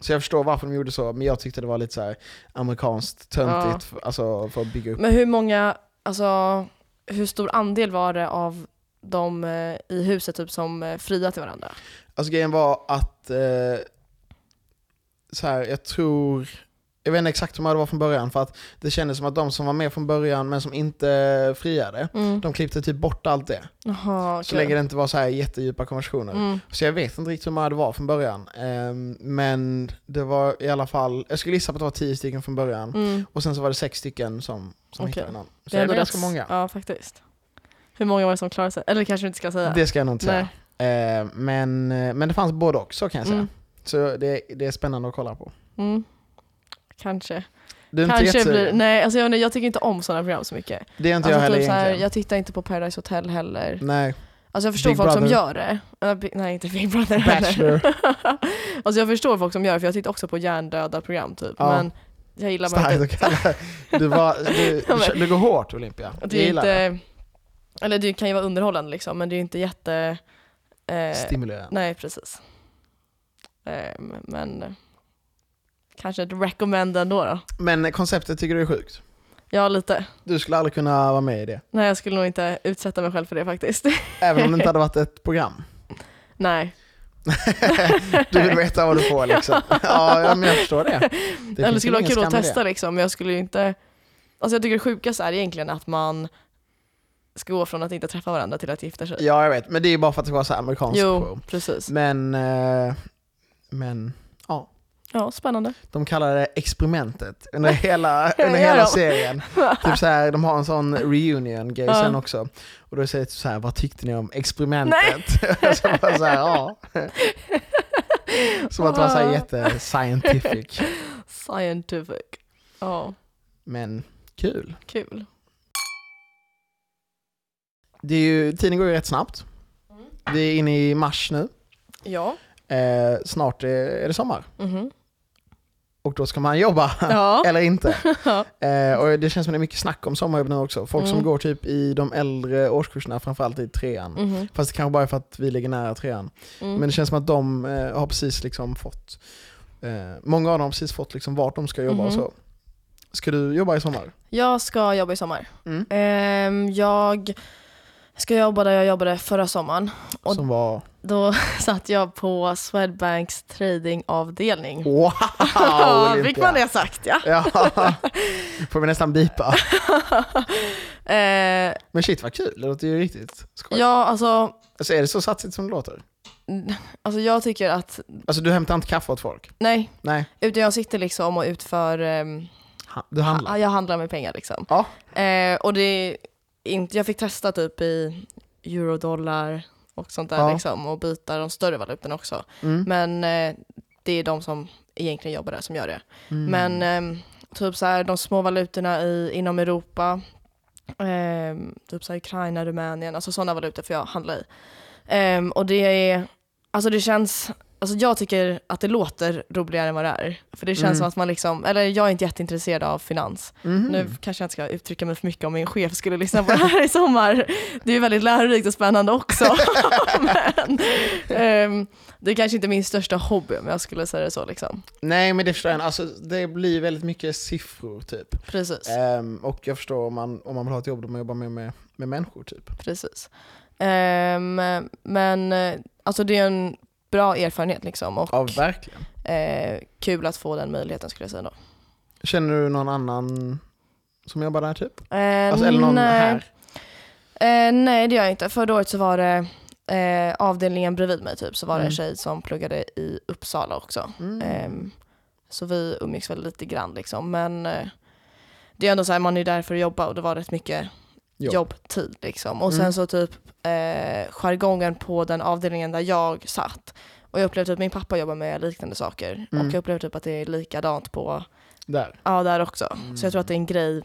Så jag förstår varför de gjorde så, men jag tyckte det var lite så här amerikanskt töntigt för, alltså, för att bygga upp. Men hur många, alltså hur stor andel var det av de eh, i huset typ som eh, friade till varandra? Alltså grejen var att, eh, så här, jag tror Jag vet inte exakt hur många det var från början för att det kändes som att de som var med från början men som inte friade, Mm. de klippte typ bort allt det. Jaha, okej. Så länge det inte var så här jättedjupa konversationer. Mm. Så jag vet inte riktigt hur många det var från början. Ehm, men det var i alla fall, jag skulle gissa på att det var tio stycken från början. Mm. Och sen så var det sex stycken som, som Okej. hittade någon. Så Det det, är är ändå ganska rätt- många. Ja, faktiskt. Hur många var det som klarade sig? Eller kanske vi inte ska säga. Det ska jag nog inte säga. Nej. Ehm, men, men det fanns både och, så kan jag säga. Mm. Så det, det är spännande att kolla på. Mm. Kanske. Du är inte Kanske blir, jättesugen? nej, alltså jag, vet inte, jag tycker inte om sådana program så mycket. Det är inte Alltså jag heller typ så här, egentligen. jag tittar inte på Paradise Hotel heller. Nej, Alltså jag förstår Big folk som Brother. gör det. Äh, Bi- nej, inte Big Brother heller. Bachelor. alltså jag förstår folk som gör det, för jag tittar också på hjärndöda program typ. Ja. Men jag gillar bara Starkt inte... att kalla du, var, du, Ja, men- du, du går hårt Olympia. Jag Det är gillar det. inte... Eller det kan ju vara underhållande liksom, men det är ju inte jätte... Eh, Stimulerande. nej, precis. Eh, men... eh, Kanske ett recommend ändå då. Men konceptet tycker du är sjukt? Ja, lite. Du skulle aldrig kunna vara med i det? Nej, jag skulle nog inte utsätta mig själv för det faktiskt. Även om det inte hade varit ett program? nej. Du vill veta vad du får liksom. Ja, ja men jag förstår det. det Eller det finns skulle väl ingen vara kul att skam i testa liksom, men jag skulle ju inte... Alltså jag tycker det sjukaste är egentligen att man ska gå från att inte träffa varandra till att gifta sig. Det. Ja, jag vet. Men det är ju bara för att det var så Mm. här amerikansk jo, show. precis. Men, eh, men Ja, spännande. de kallar det experimentet under hela, Ja, under gör hela de? serien. Typ så här, de har en sån reunion-grej Ja. sen också. Och då säger det så här, vad tyckte ni om experimentet? så bara så här, ja. Som att det var så här jätte-scientific. Scientific. Ja, Men kul. kul. Det är ju, tiden går ju rätt snabbt. Mm. Vi är inne i mars nu. Ja. Eh, snart är, är det sommar. Mhm. Och då ska man jobba. Ja. Eller inte. Ja. Eh, och det känns som det är mycket snack om sommarjobb nu också. Folk som Mm. går typ i de äldre årskurserna, framförallt i trean. Mhm. Fast det kanske bara är för att vi ligger nära trean. Mm. Men det känns som att de eh, har precis liksom fått, eh, många av dem har precis fått liksom vart de ska jobba och Mhm. så. Ska du jobba i sommar? Jag ska jobba i sommar. Mm. Ehm, jag ska jobba där jag jobbade förra sommaren. Och- Som var, Då satt jag på Swedbanks tradingavdelning. wow! Fick Olympia. man det sagt ja. Ja, får vi nästan bipa. Eh, Men shit vad kul, det låter ju riktigt skoj. ja, alltså, Alltså är det så satsigt som det låter? alltså jag tycker att, Alltså du hämtar inte kaffe åt folk? nej, Nej, utan jag sitter liksom och utför, ehm, ha- du handlar? ja, jag handlar med pengar liksom. Ja. Eh, och det är inte, jag fick testa typ i eurodollar och sånt där Ja. liksom och byta de större valutorna också. Mm. Men eh, det är de som egentligen jobbar där som gör det. Mm. Men ehm, typ så här, de små valutorna i, inom Europa, ehm, typ så här Ukraina, Rumänien, alltså sådana valutor får jag handla i. Ehm, och det är, alltså det känns, alltså jag tycker att det låter roligare än vad det är. För det känns Mm. som att man liksom, eller jag är inte jätteintresserad av finans. Mhm. Nu kanske jag inte ska uttrycka mig för mycket om min chef skulle lyssna på det här i sommar. Det är ju väldigt lärorikt och spännande också. Men, ehm, det är kanske inte min största hobby om jag skulle säga det så liksom. Nej men det förstår jag, alltså, det blir väldigt mycket siffror typ. Precis. Ehm, och jag förstår om man, om man vill ha ett jobb där man jobbar med, med, med människor typ. Precis. Ehm, men eh, alltså det är en bra erfarenhet liksom och Ja verkligen. eh, kul att få den möjligheten skulle jag säga då. Känner du någon annan som jobbar där typ? Eh, Alltså, eller någon nej. här? Eh, nej det gör jag inte. Förra året så var det eh, avdelningen bredvid mig typ så var det en Mm. tjej som pluggade i Uppsala också. Mm. Ehm, så vi umgicks väl lite grann liksom men eh, det är ändå så här, man är där för att jobba och det var rätt mycket Jobb. jobbtid liksom. Och Mm. sen så typ eh, jargongen på den avdelningen där jag satt. Och jag upplevde att min pappa jobbar med liknande saker. Mm. Och jag upplevde typ att det är likadant på, Där. ja där också. Så jag tror Mm. att det är en grej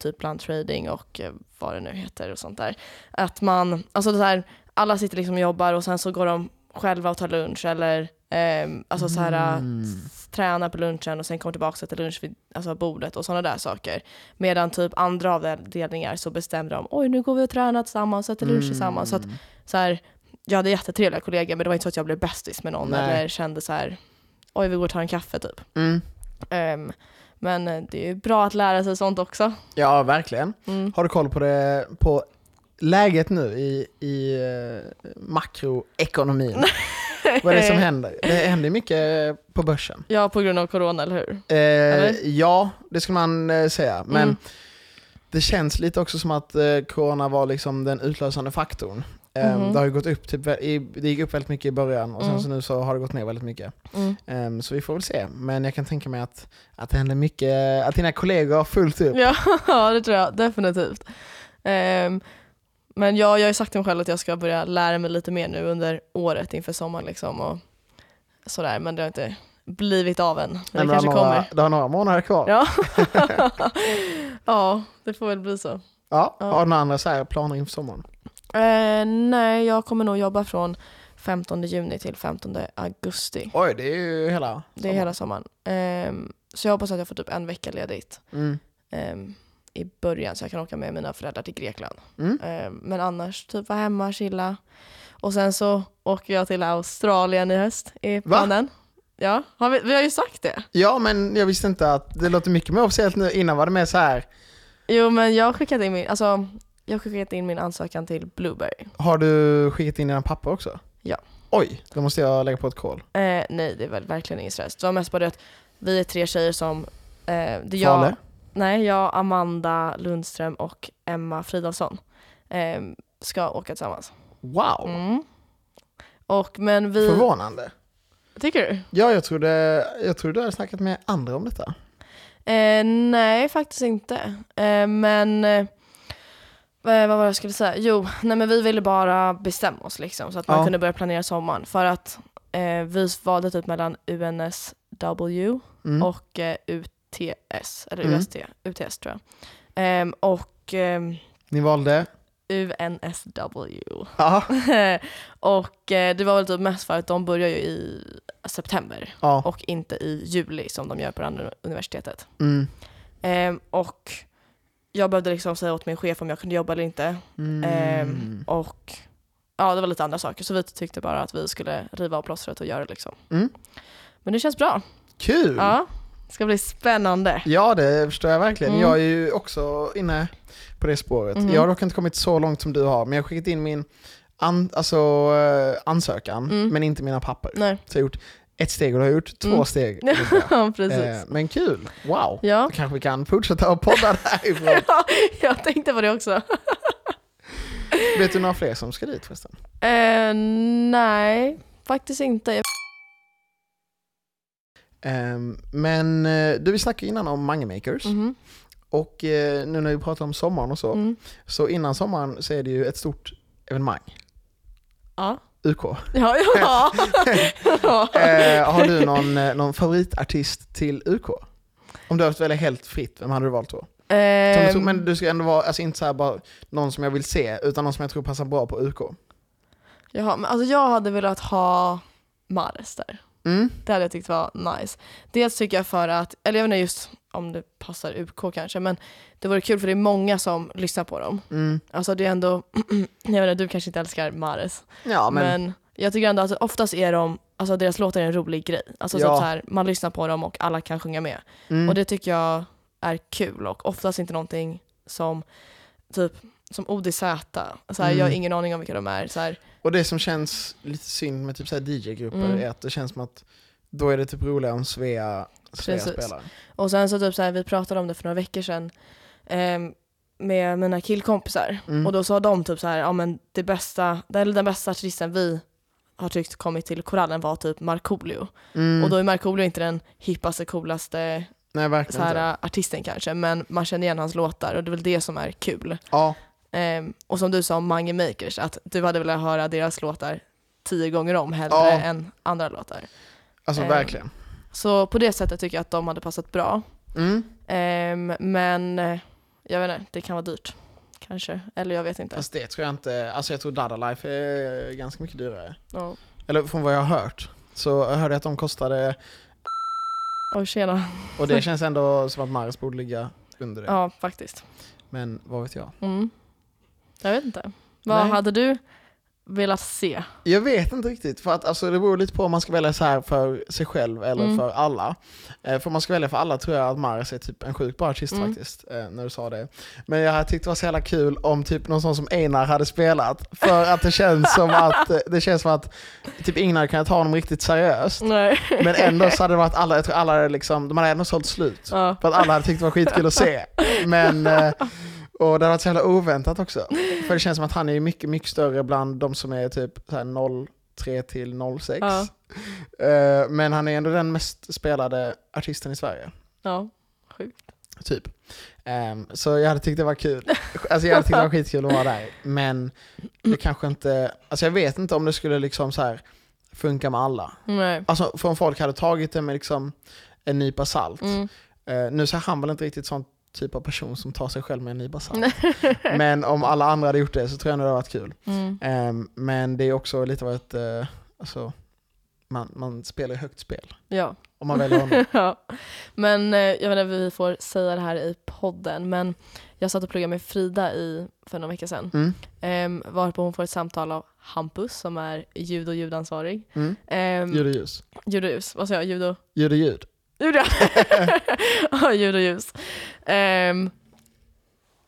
typ bland trading och eh, vad det nu heter och sånt där. Att man, alltså det här, alla sitter liksom och jobbar och sen så går de själva och tar lunch eller ehm, alltså så här, Mm. s- tränar på lunchen och sen kommer tillbaka till lunch vid alltså bordet och sådana där saker. Medan typ andra avdelningar så bestämde de, oj nu går vi och tränar tillsammans, äter lunch tillsammans. Så att Mm. så här, jag hade jättetrevliga kollegor men det var inte så att jag blev bästis med någon Nej. eller kände så här, oj vi går och tar en kaffe typ. Mm. Ehm, men eh, det är ju bra att lära sig sånt också. Ja verkligen. Mm. Har du koll på, det, på läget nu i, i eh, makroekonomin? Vad är det som händer? Det händer mycket på börsen. Ja, på grund av corona, eller hur? Eh, Eller? ja, det skulle man eh, säga. Men Mm. det känns lite också som att eh, corona var liksom den utlösande faktorn. Eh, Mhm. Det har ju gått upp, typ, vä- i, det gick upp väldigt mycket i början och sen Mm. så nu så har det gått ner väldigt mycket. Mm. Eh, så vi får väl se. Men jag kan tänka mig att, att det händer mycket, att dina kollegor har fullt upp. Ja, det tror jag definitivt. Ehm, men ja, jag har ju sagt till mig själv att jag ska börja lära mig lite mer nu under året inför sommaren. Liksom, och sådär, men det har inte blivit av än. Men det Nej, men kanske har några, kommer. Du har några månader kvar. Ja. ja, det får väl bli så. Ja, Ja. Har du några andra så här planer inför sommaren? Eh, nej, jag kommer nog jobba från 15 juni till 15 augusti. Oj, det är ju hela Det är hela sommaren. Ehm, så jag hoppas att jag får typ en vecka ledigt Mm. ehm, i början så jag kan åka med mina föräldrar till Grekland. Mm. Ehm, men annars typ vara hemma, chilla. Och sen så åker jag till Australien i höst i planen. Ja, har vi, vi har ju sagt det. Ja, men jag visste inte att det låter mycket mer officiellt nu. Innan var det mer så här, Jo men jag har skickat in min, alltså, jag har skickat in min ansökan till Blueberry. har du skickat in dina papper också? Ja. Oj, då måste jag lägga på ett kol. Eh, nej det är väl verkligen ingen stress. Det var mest bara det att vi är tre tjejer som eh, det är Fale? jag, nej, jag, Amanda Lundström och Emma Fridolfsson eh, ska åka tillsammans. Wow, Mm. Och men vi... förvånande. Tycker du? Ja, jag trodde, jag trodde du hade snackat med andra om detta. Eh, nej, faktiskt inte. Eh, men eh, eh, vad var det jag skulle säga? Jo, nej, men vi ville bara bestämma oss liksom, så att man Ja. kunde börja planera sommaren. För att eh, vi valde typ mellan UNSW Mm. och eh, UTS, eller Mm. UST, UTS tror jag. Ehm, och ehm, Ni valde? UNSW. Ja. och eh, det var väl typ mest för att de börjar ju i september ja. och inte i juli som de gör på det andra universitetet. Mm. Ehm, och jag behövde liksom säga åt min chef om jag kunde jobba eller inte. Mm. Ehm, och ja, det var lite andra saker. Så vi tyckte bara att vi skulle riva av plåstret och göra det liksom. Mm. Men det känns bra. Kul! Ja. Ja, det ska bli spännande. det förstår jag verkligen. Mm. Jag är ju också inne på det spåret. Mhm. Jag har dock inte kommit så långt som du har, men jag har skickat in min an- alltså, eh, ansökan, Mm. men inte mina papper. Nej, Så jag har gjort ett steg och du har gjort två Mm. steg. vill jag säga. precis. Eh, men kul, wow. Ja. Då kanske vi kan fortsätta att podda därifrån. ja, jag tänkte på det också. Vet du några fler som ska dit förresten? Eh, nej, faktiskt inte. Eh, men eh, du, vi snackade innan om Mangemakers. Mhm, Och eh, nu när vi pratar om sommaren och så, mm. så innan sommaren så är det ju ett stort evenemang, Ja, UK. ja, ja. ja. Eh, har du någon, eh, någon favoritartist till UK? Om du hade välja helt fritt, vem hade du valt då? Som du tror, Ehm, men du ska ändå vara, alltså inte så här bara någon som jag vill se, utan någon som jag tror passar bra på UK. jaha, men alltså jag hade velat ha Mares där. Mm. Det hade jag tyckt var nice. Dels tycker jag för att, eller jag vet inte just om det passar UK kanske, men det vore kul för det är många som lyssnar på dem. Mm. Alltså det är ändå, jag vet inte, du kanske inte älskar Mares, Ja, men, men jag tycker ändå att oftast är de, alltså deras låtar är en rolig grej. Alltså Ja. typ så här, man lyssnar på dem och alla kan sjunga med. mm. Och det tycker jag är kul och oftast inte någonting som typ som ODZ. Så här, Mm. Jag har ingen aning om vilka de är. Så här, Och det som känns lite synd med typ så här DJ-grupper Mm. är att det känns som att då är det typ roligare om Svea, Svea Precis. spelar. Och sen så typ så här, vi pratade om det för några veckor sedan ehm, med mina killkompisar. Mm. Och då sa de typ så här, ja men det bästa, den, eller den bästa artisten vi har tyckt kommit till korallen var typ Markoolio. Mm. Och då är Markoolio inte den hippaste, coolaste Nej, så verkligen inte. här, artisten kanske, men man känner igen hans låtar och det är väl det som är kul. Ja, Ehm, och som du sa om Mange Makers, att du hade velat höra deras låtar tio gånger om hellre Ja. än andra låtar. alltså Eh. verkligen. Så på det sättet tycker jag att de hade passat bra. Mm. Ehm, men eh, jag vet inte, det kan vara dyrt. Kanske, eller jag vet inte. Fast det tror jag inte, alltså jag tror Dada Life är ganska mycket dyrare. Ja. Eller från vad jag har hört så hörde jag att de kostade, Oj, tjena. och det känns ändå som att Maris borde ligga under det. Ja, faktiskt. Men vad vet jag? Mm. Jag vet inte. Vad Nej. hade du velat se? Jag vet inte riktigt, för att alltså, det beror lite på om man ska välja så här för sig själv eller Mm. för alla. Eh, för om man ska välja för alla tror jag att Maris är typ en sjukt bra artist Mm. faktiskt, eh, när du sa det. Men jag hade tyckt det var så jävla kul om typ någon sån som Einar hade spelat, för att det känns som att, eh, det känns som att typ ingen hade kunnat ta honom riktigt seriöst. Nej. Men ändå så hade det varit alla, jag tror alla hade liksom, de hade ändå sålt slut. Ja. För att alla hade tyckt det var skitkul att se. Men, eh, och det hade varit så jävla oväntat också. För det känns som att han är ju mycket, mycket större bland de som är typ så här 03 till 06. Ja. Eh, Men han är ändå den mest spelade artisten i Sverige. ja. Typ. Ehm, så jag hade tyckt det var kul. Alltså jag hade tyckt det var skitkul att vara där. Men det kanske inte, alltså jag vet inte om det skulle liksom så här funka med alla. Nej. Alltså för om folk hade tagit det med liksom en nypa salt. Mm. Eh, nu så är han väl inte riktigt sån typ av person som tar sig själv med en nypa salt. men om alla andra hade gjort det så tror jag ändå det hade varit kul. Mm. Ehm, men det är också lite av ett, eh, alltså, man, man spelar ju högt spel. Ja. Om man väljer honom. ja. Men eh, jag vet inte om vi får säga det här i podden, men jag satt och pluggade med Frida i, för några veckor sedan. Mm, Um, varpå hon får ett samtal av Hampus som är ljud och ljudansvarig. mm. Ehm, Ljud och ljus. ljud och ljus, vad sa jag? Ljud och... Ljud och ljud. Gjorde jag? ja, ljud och ljus. Ehm,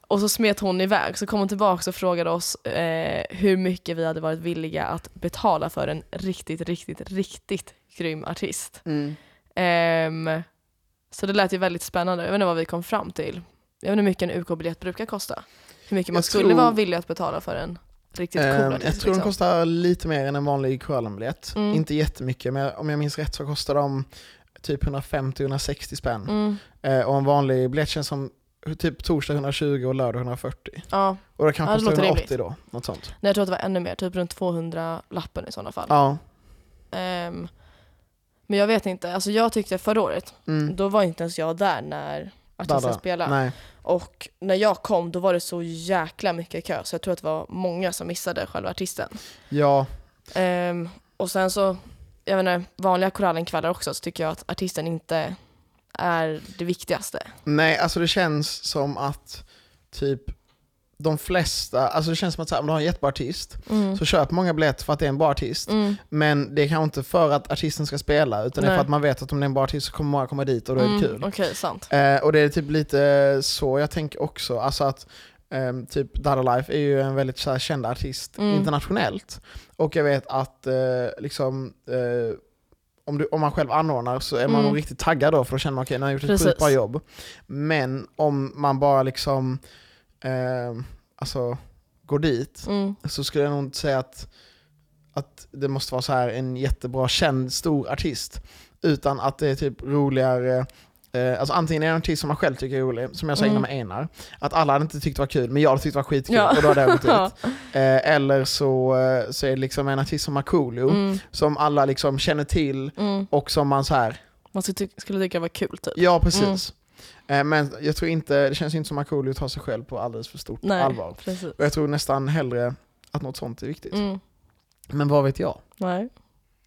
och så smet hon iväg, så kom hon tillbaka och frågade oss eh, hur mycket vi hade varit villiga att betala för en riktigt, riktigt, riktigt grym artist. Ehm, så det lät ju väldigt spännande. Jag vet inte vad vi kom fram till. Jag vet inte hur mycket en UK-biljett brukar kosta. Hur mycket man Jag skulle tror- vara villig att betala för en riktigt cool Ehm, artist. jag tror de liksom. kostar lite mer än en vanlig Korallen-biljett. Mm. Inte jättemycket, men om jag minns rätt så kostar de typ 150-160 spänn. Mm, Ehm, och en vanlig biljett känns som typ torsdag 120 och lördag 140. ja. Och det kanske Ja, det kostar låter 180 rimligt. då, något sånt. Nej, jag tror att det var ännu mer, typ runt 200 lappen i sådana fall. Ja. Ehm, men jag vet inte, alltså jag tyckte förra året, Mm. då var inte ens jag där när artisten Dadda. spelade. Nej. Och när jag kom då var det så jäkla mycket kö så jag tror att det var många som missade själva artisten. Ja, Ehm, och sen så, jag vet inte, vanliga korallenkvällar också så tycker jag att artisten inte är det viktigaste. nej alltså det känns som att typ de flesta, alltså det känns som att så här, om du har en jättebra artist så köper många biljetter för att det är en bra artist. Mm. Men det är kanske inte för att artisten ska spela utan det är Nej. för att man vet att om det är en bra artist så kommer många komma dit och då är det Mm, kul. Okej, sant. Eh, och det är typ lite eh, så jag tänker också, alltså att ehm, typ Dada Life är ju en väldigt så här, känd artist Mm. internationellt. Och jag vet att eh, liksom eh, om, du, om man själv anordnar så är man Mm. nog riktigt taggad då för då känner man okej, okay, har gjort ett Precis. sjukt bra jobb. Men om man bara liksom ehm, alltså, går dit Mm. så skulle jag nog inte säga att, att det måste vara så här en jättebra känd stor artist. Utan att det är typ roligare, eh, alltså antingen är det en artist som man själv tycker är rolig, som jag sa Mm. innan med Einar, att alla hade inte tyckt det var kul, men jag hade tyckt det var skitkul Ja. och då hade jag gått Ja. dit. Eh, eller så, eh, så är det liksom en artist som Markoolio, Mm. som alla liksom känner till Mm. och som man så här, Man skulle, ty- skulle tycka det var kul typ. ja precis. Eh, men jag tror inte, det känns inte som Markoolio tar sig själv på alldeles för stort Nej, allvar. precis. Och jag tror nästan hellre att något sånt är viktigt. Mm. Men vad vet jag? Nej.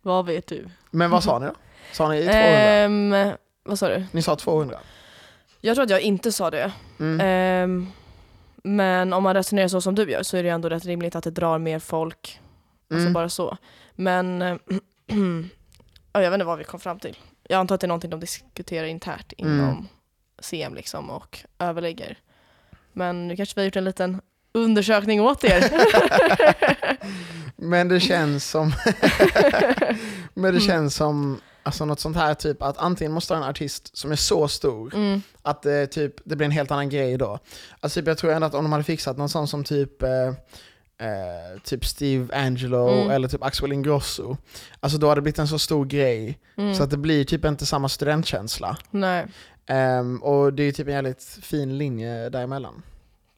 Vad vet du? Men vad sa ni då? Sa ni 200? Ehm, vad sa du? ni sa 200? Jag tror att jag inte sa det. Mm. Ehm, men om man resonerar så som du gör så är det ju ändå rätt rimligt att det drar mer folk Alltså Mm. bara så. Men eh, ja, jag vet inte vad vi kom fram till. Jag antar att det är någonting de diskuterar internt inom Mm. CM liksom och överlägger. Men nu kanske vi har gjort en liten undersökning åt er. Men det känns som... men det Mm. känns som alltså något sånt här typ att antingen måste ha en artist som är så stor Mm, att det, typ, det blir en helt annan grej då. Alltså typ, jag tror ändå att om de hade fixat någon sån som typ eh, eh, typ Steve Angelo Mm. eller typ Axel Ingrosso. Alltså då hade det blivit en så stor grej mm. så att det blir typ inte samma studentkänsla. Nej, Ehm, och det är ju typ en jävligt fin linje däremellan.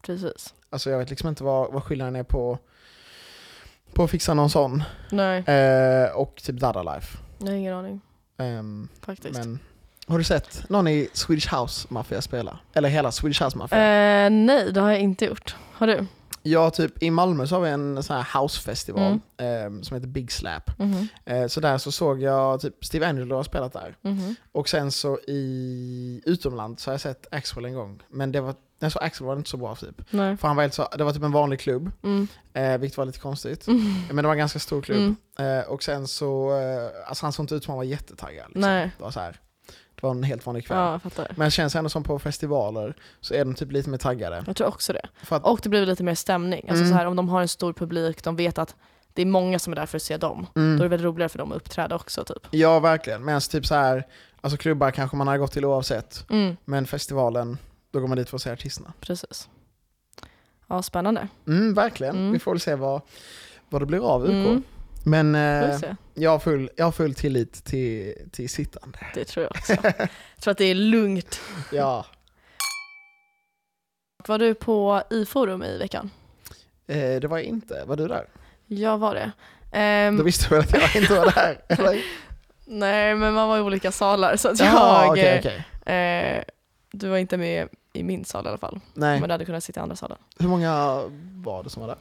precis. Alltså jag vet liksom inte vad, vad skillnaden är på, på att fixa någon sån Nej, eh, och typ Dada Life. jag har ingen aning Ehm, faktiskt. men har du sett någon i Swedish House Mafia spela? Eller hela Swedish House Mafia? Eh, nej, det har jag inte gjort. Har du? Ja, typ i Malmö så har vi en sån här housefestival eh, som heter Big Slap. Mhm, Eh, så där så såg jag typ Steve Angelo har spelat där. mhm. Och sen så i utomlands så har jag sett Axel en gång. Men det var, när jag såg Axel var det inte så bra typ. Nej. För han var helt så, det var typ en vanlig klubb, Mm. eh, vilket var lite konstigt. Mm. Men det var en ganska stor klubb. Mm. Eh, och sen så, eh, alltså han såg inte ut som han var jättetaggad. Liksom. Nej. Det var så här, det var en helt vanlig kväll. Ja, jag fattar. Men det känns ändå som på festivaler så är de typ lite mer taggade. Jag tror också det. För att, Och det blir lite mer stämning. Alltså Mm. så här, om de har en stor publik, de vet att det är många som är där för att se dem. mm, Då är det väl roligare för dem att uppträda också typ. ja verkligen, medan typ så här, alltså klubbar kanske man hade gått till oavsett. Mm, Men festivalen, då går man dit för att se artisterna. precis. Ja, spännande. Mm, verkligen, Mm. vi får väl se vad, vad det blir av UK. Mm, Men får vi eh, se. jag, har full, jag har full tillit till, till sittande. Det tror jag också. jag tror att det är lugnt. Ja. Var du på i-forum i veckan? Eh, det var jag inte, var du där? Jag var det. Ehm, Då visste du väl att jag inte var där? Eller? Nej, men man var i olika salar så att jag... Ja, Ah, okej, okej. eh, du var inte med i min sal i alla fall, Nej. men du hade kunnat sitta i andra salen. Hur många var det som var där?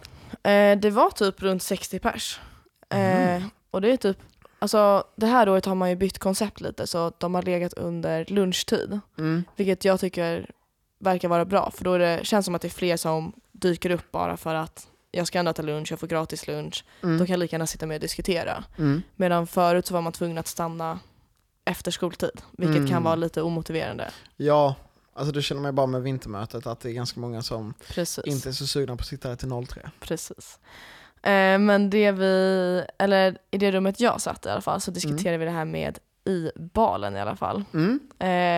Eh, det var typ runt 60 pers. Eh, Mm. Och det är typ, alltså det här året har man ju bytt koncept lite så att de har legat under lunchtid. Mm. Vilket jag tycker verkar vara bra för då är det, känns det som att det är fler som dyker upp bara för att jag ska ändå äta lunch, jag får gratis lunch. Då Mm. kan jag lika gärna sitta med och diskutera. Mm. Medan förut så var man tvungen att stanna efter skoltid, vilket Mm. kan vara lite omotiverande. Ja, alltså du känner mig bara med vintermötet att det är ganska många som Precis. inte är så sugna på att sitta här till 03. Precis. Eh, men det vi, eller i det rummet jag satt i alla fall så diskuterade vi det här med i balen i alla fall. Mm.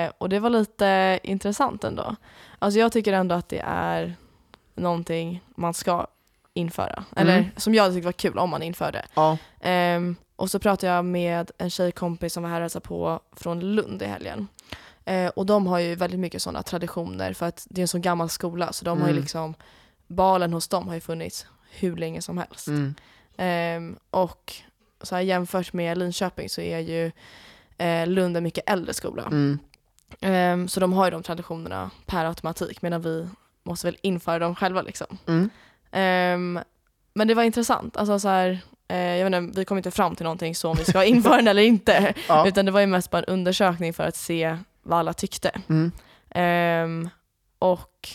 Eh, och det var lite intressant ändå. Alltså jag tycker ändå att det är någonting man ska införa. Eller Mm. som jag tyckte var kul om man införde. Ja. Ehm, och så pratade jag med en tjejkompis som var här och hälsade på från Lund i helgen. Eh, och de har ju väldigt mycket sådana traditioner för att det är en så gammal skola så de har ju Mm. liksom, balen hos dem har ju funnits hur länge som helst. Mm. Ehm, och så här, jämfört med Linköping så är ju eh, Lund en mycket äldre skola. Mm. Ehm, så de har ju de traditionerna per automatik medan vi måste väl införa dem själva liksom. Mm. Ehm, men det var intressant. Alltså, så här, eh, jag vet inte, vi kom inte fram till någonting så om vi ska införa den eller inte. Ja. Utan det var ju mest bara en undersökning för att se vad alla tyckte. Mm. Ehm, och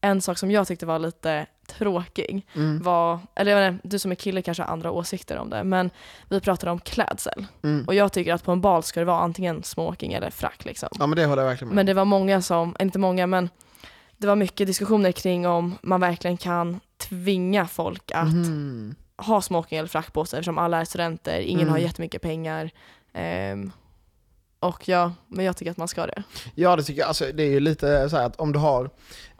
en sak som jag tyckte var lite tråkig Mm. var, eller jag vet inte, du som är kille kanske har andra åsikter om det, men vi pratade om klädsel. Mm. Och jag tycker att på en bal ska det vara antingen smoking eller frack liksom. Ja men det håller jag verkligen med Men det var många som, inte många men det var mycket diskussioner kring om man verkligen kan tvinga folk att Mhm. ha smoking eller frack på sig eftersom alla är studenter, ingen Mm. har jättemycket pengar. Ehm, och ja, men jag tycker att man ska det. Ja det tycker jag, alltså, det är ju lite så här att om du har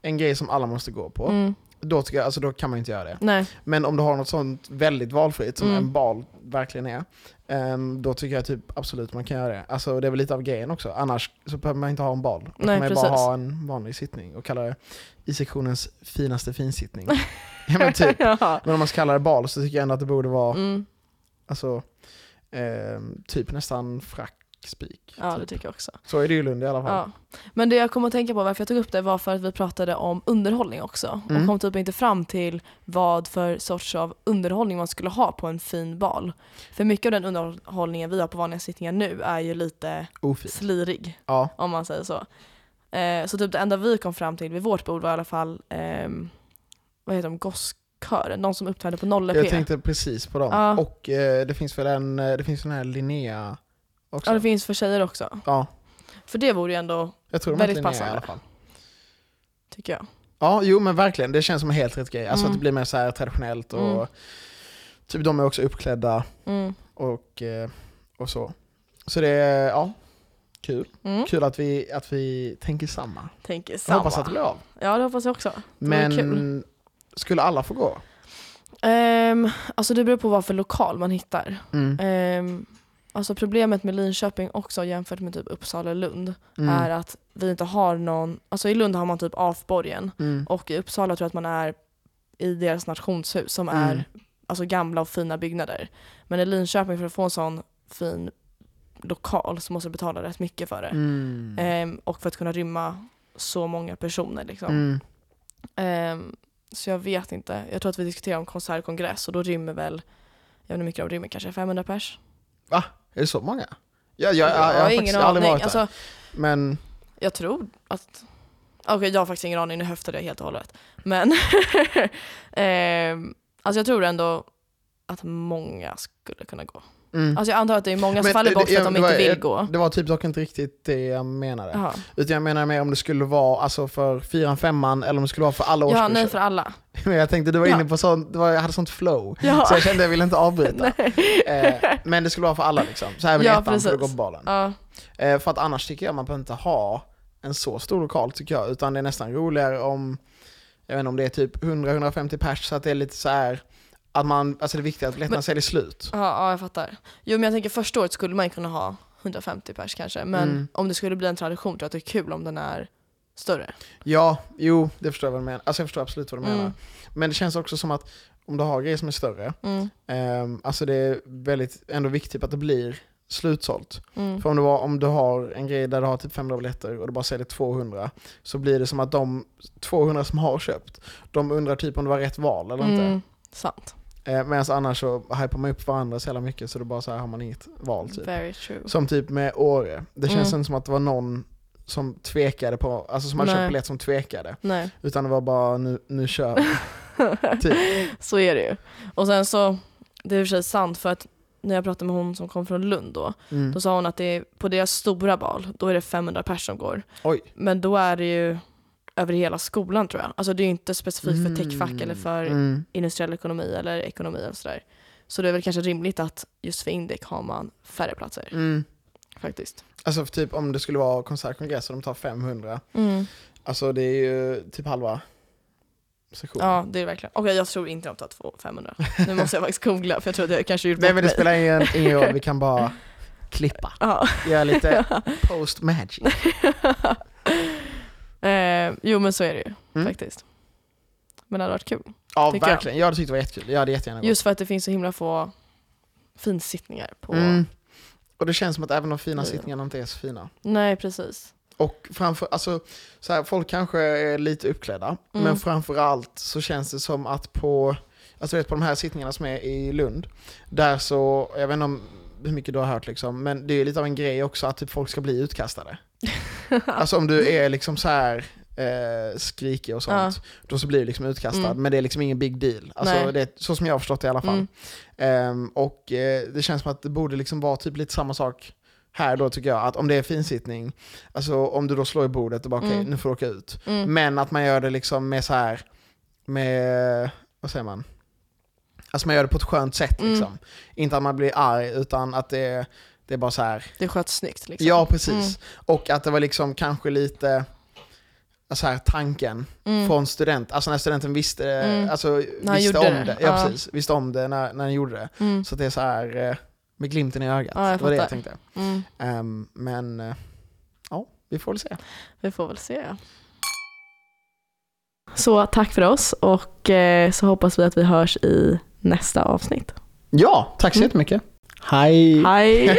en grej som alla måste gå på, Mm. då, tycker jag, alltså, då kan man inte göra det. Nej, Men om du har något sånt väldigt valfritt som Mm. en bal verkligen är, ehm, då tycker jag typ absolut man kan göra det. Alltså det är väl lite av grejen också, annars så behöver man inte ha en bal. Då Nej, kan man ju bara precis. ha en vanlig sittning och kalla det i sektionens finaste finsittning. ja men typ. ja. Men om man ska kalla det bal så tycker jag ändå att det borde vara, Mm. alltså, ehm, typ nästan frackspik. ja, det typ. tycker jag också. Så är det ju i Lund i alla fall. Ja. Men det jag kom att tänka på, varför jag tog upp det var för att vi pratade om underhållning också. Och Mm. kom typ inte fram till vad för sorts av underhållning man skulle ha på en fin bal. För mycket av den underhållningen vi har på vanliga sittningar nu är ju lite Ofint. slirig, Ja. om man säger så. Eh, så typ det enda vi kom fram till vid vårt bord var i alla fall, ehm, vad heter de, gosskören, de som uppträdde på 0 Jag p tänkte precis på dem. Ja. Och eh, det finns väl en, eh, det finns den här Linnea också? Ja det finns för tjejer också. ja. För det vore ju ändå, Jag tror de Väldigt heter Linnea i passande. alla fall. tycker jag. Ja, jo men verkligen. Det känns som en helt rätt grej. Alltså Mm. att det blir mer så här traditionellt och Mm. typ de är också uppklädda Mm. och, eh, och så. Så det är, ja, kul. Mm. Kul att vi, att vi tänker samma. Tänker Jag samma. hoppas att det blir av. Ja det hoppas jag också. Det vore kul. Men skulle alla få gå? Ehm, alltså det beror på vad för lokal man hittar. Mm. Ehm, alltså problemet med Linköping också jämfört med typ Uppsala och Lund Mm. är att vi inte har någon, alltså i Lund har man typ AF-borgen Mm. och i Uppsala tror jag att man är i deras nationshus som Mm. är alltså gamla och fina byggnader. Men i Linköping för att få en sån fin lokal så måste du betala rätt mycket för det. Mm. Eh, Ehm, och för att kunna rymma så många personer liksom. Mm. Ehm, Så jag vet inte. Jag tror att vi diskuterar om konsertkongress och då rymmer väl, jag vet inte hur mycket de rymmer, kanske 500 pers? Är det så många? Ja, jag, jag, jag, har faktiskt aldrig varit där. Alltså, Men mm. jag tror att... Okej, jag har faktiskt ingen aning, nu höftade jag helt och hållet. Men ehm, alltså jag tror ändå att många skulle kunna gå. mm. Alltså jag antar att det är många som Men faller det- bort för det- att de det var- inte vill jag- gå. det var typ dock inte riktigt det jag menade. Jaha. Utan jag menar mer om det skulle vara alltså för fyran, femman eller om det skulle vara för alla Ja, årskurser. nej för alla. Men jag tänkte du var Ja. inne på sånt, det var, jag hade sånt flow. Ja. Så jag kände jag ville inte avbryta. Nej. eh, men det skulle vara för alla liksom. Så här vill Ja, ettan för att gå precis. på balen. Ja, Eh, för att annars tycker jag man behöver inte ha en så stor lokal tycker jag. Utan det är nästan roligare om, jag vet inte om det är typ 100-150 pers så att det är lite så här att man, alltså det viktiga är att biljetterna Men- säljer slut. ja, ja, jag fattar. Jo men jag tänker första året skulle man kunna ha 150 pers kanske. Men Mm. om det skulle bli en tradition tror jag att det är kul om den är större. Ja, jo, det förstår jag vad du menar. Alltså jag förstår absolut vad du Mm. menar. Men det känns också som att om du har grejer som är större, Mm. ehm, alltså det är väldigt ändå viktigt typ att det blir slutsålt. Mm. För om du, har, om du har en grej där du har typ 500 biljetter och du bara säljer 200, så blir det som att de 200 som har köpt, de undrar typ om det var rätt val eller inte. Mm. Sant. Eh, Medan annars så hypar man upp varandra så jävla mycket så det bara så här har man inget val typ. Very true. Som typ med Åre, det känns Mm. inte som att det var någon som tvekade på, alltså som hade Nej. köpt biljett som tvekade. Nej. Utan det var bara nu, nu kör vi. typ. Så är det ju. Och sen så, det är i och för sig sant för att när jag pratade med hon som kom från Lund då, Mm. då sa hon att det är, på deras stora bal, då är det 500 personer som går. Oj. Men då är det ju över hela skolan tror jag. Alltså det är ju inte specifikt för techfack eller för Mm. industriell ekonomi eller ekonomi eller sådär. Så det är väl kanske rimligt att just för Indec har man färre platser Mm. faktiskt. Alltså för typ om det skulle vara konsertkongress och de tar 500, Mm. alltså det är ju typ halva sessionen. Ja, det är det verkligen. Okej, jag tror inte de tar två- 500. Nu måste jag faktiskt googla för jag tror att jag kanske gjort Nej bort men det mig. spelar ingen, ingen roll, vi kan bara klippa. Ja. Göra lite post magic. Eh, jo men så är det ju Mm. faktiskt. Men det hade varit kul. Ja Tycker jag. verkligen, jag hade tyckt det var jättekul. Jag hade jättegärna gått. Just för att det finns så himla få finsittningar på... Mm. Och det känns som att även de fina Ja. sittningarna inte är så fina. Nej precis. Och framför, alltså, så här, folk kanske är lite uppklädda, Mm. men framförallt så känns det som att på, alltså, du vet, på de här sittningarna som är i Lund, där så, jag vet inte om hur mycket du har hört liksom, men det är lite av en grej också att typ, folk ska bli utkastade. alltså om du är liksom så här eh, skrikig och sånt, då så blir du liksom utkastad, Mm. men det är liksom ingen big deal. Alltså, Nej. det är, så som jag har förstått det i alla fall. Mm. Ehm, och eh, det känns som att det borde liksom vara typ lite samma sak här då tycker jag. Att om det är finsittning, alltså om du då slår i bordet och bara okej, Mm. nu får du åka ut. Mm. Men att man gör det liksom med så här, med, vad säger man? Alltså man gör det på ett skönt sätt Mm. liksom. Inte att man blir arg utan att det, är- det är bara så här, Det sköts snyggt liksom. ja precis. Och att det var liksom kanske lite, så här tanken Mm. från student, alltså när studenten visste, Mm. alltså, han visste gjorde om det, det. Ja, Ja. precis, visste om det när, när han gjorde det. Mm. Så att det är så här eh, med glimten i ögat. Ja, jag det var det jag fattar. tänkte. Mm. Ehm, men eh, ja, vi får väl se. Vi får väl se. Så tack för oss och eh, så hoppas vi att vi hörs i nästa avsnitt. Ja, tack så Mm. jättemycket. Hej! Hej!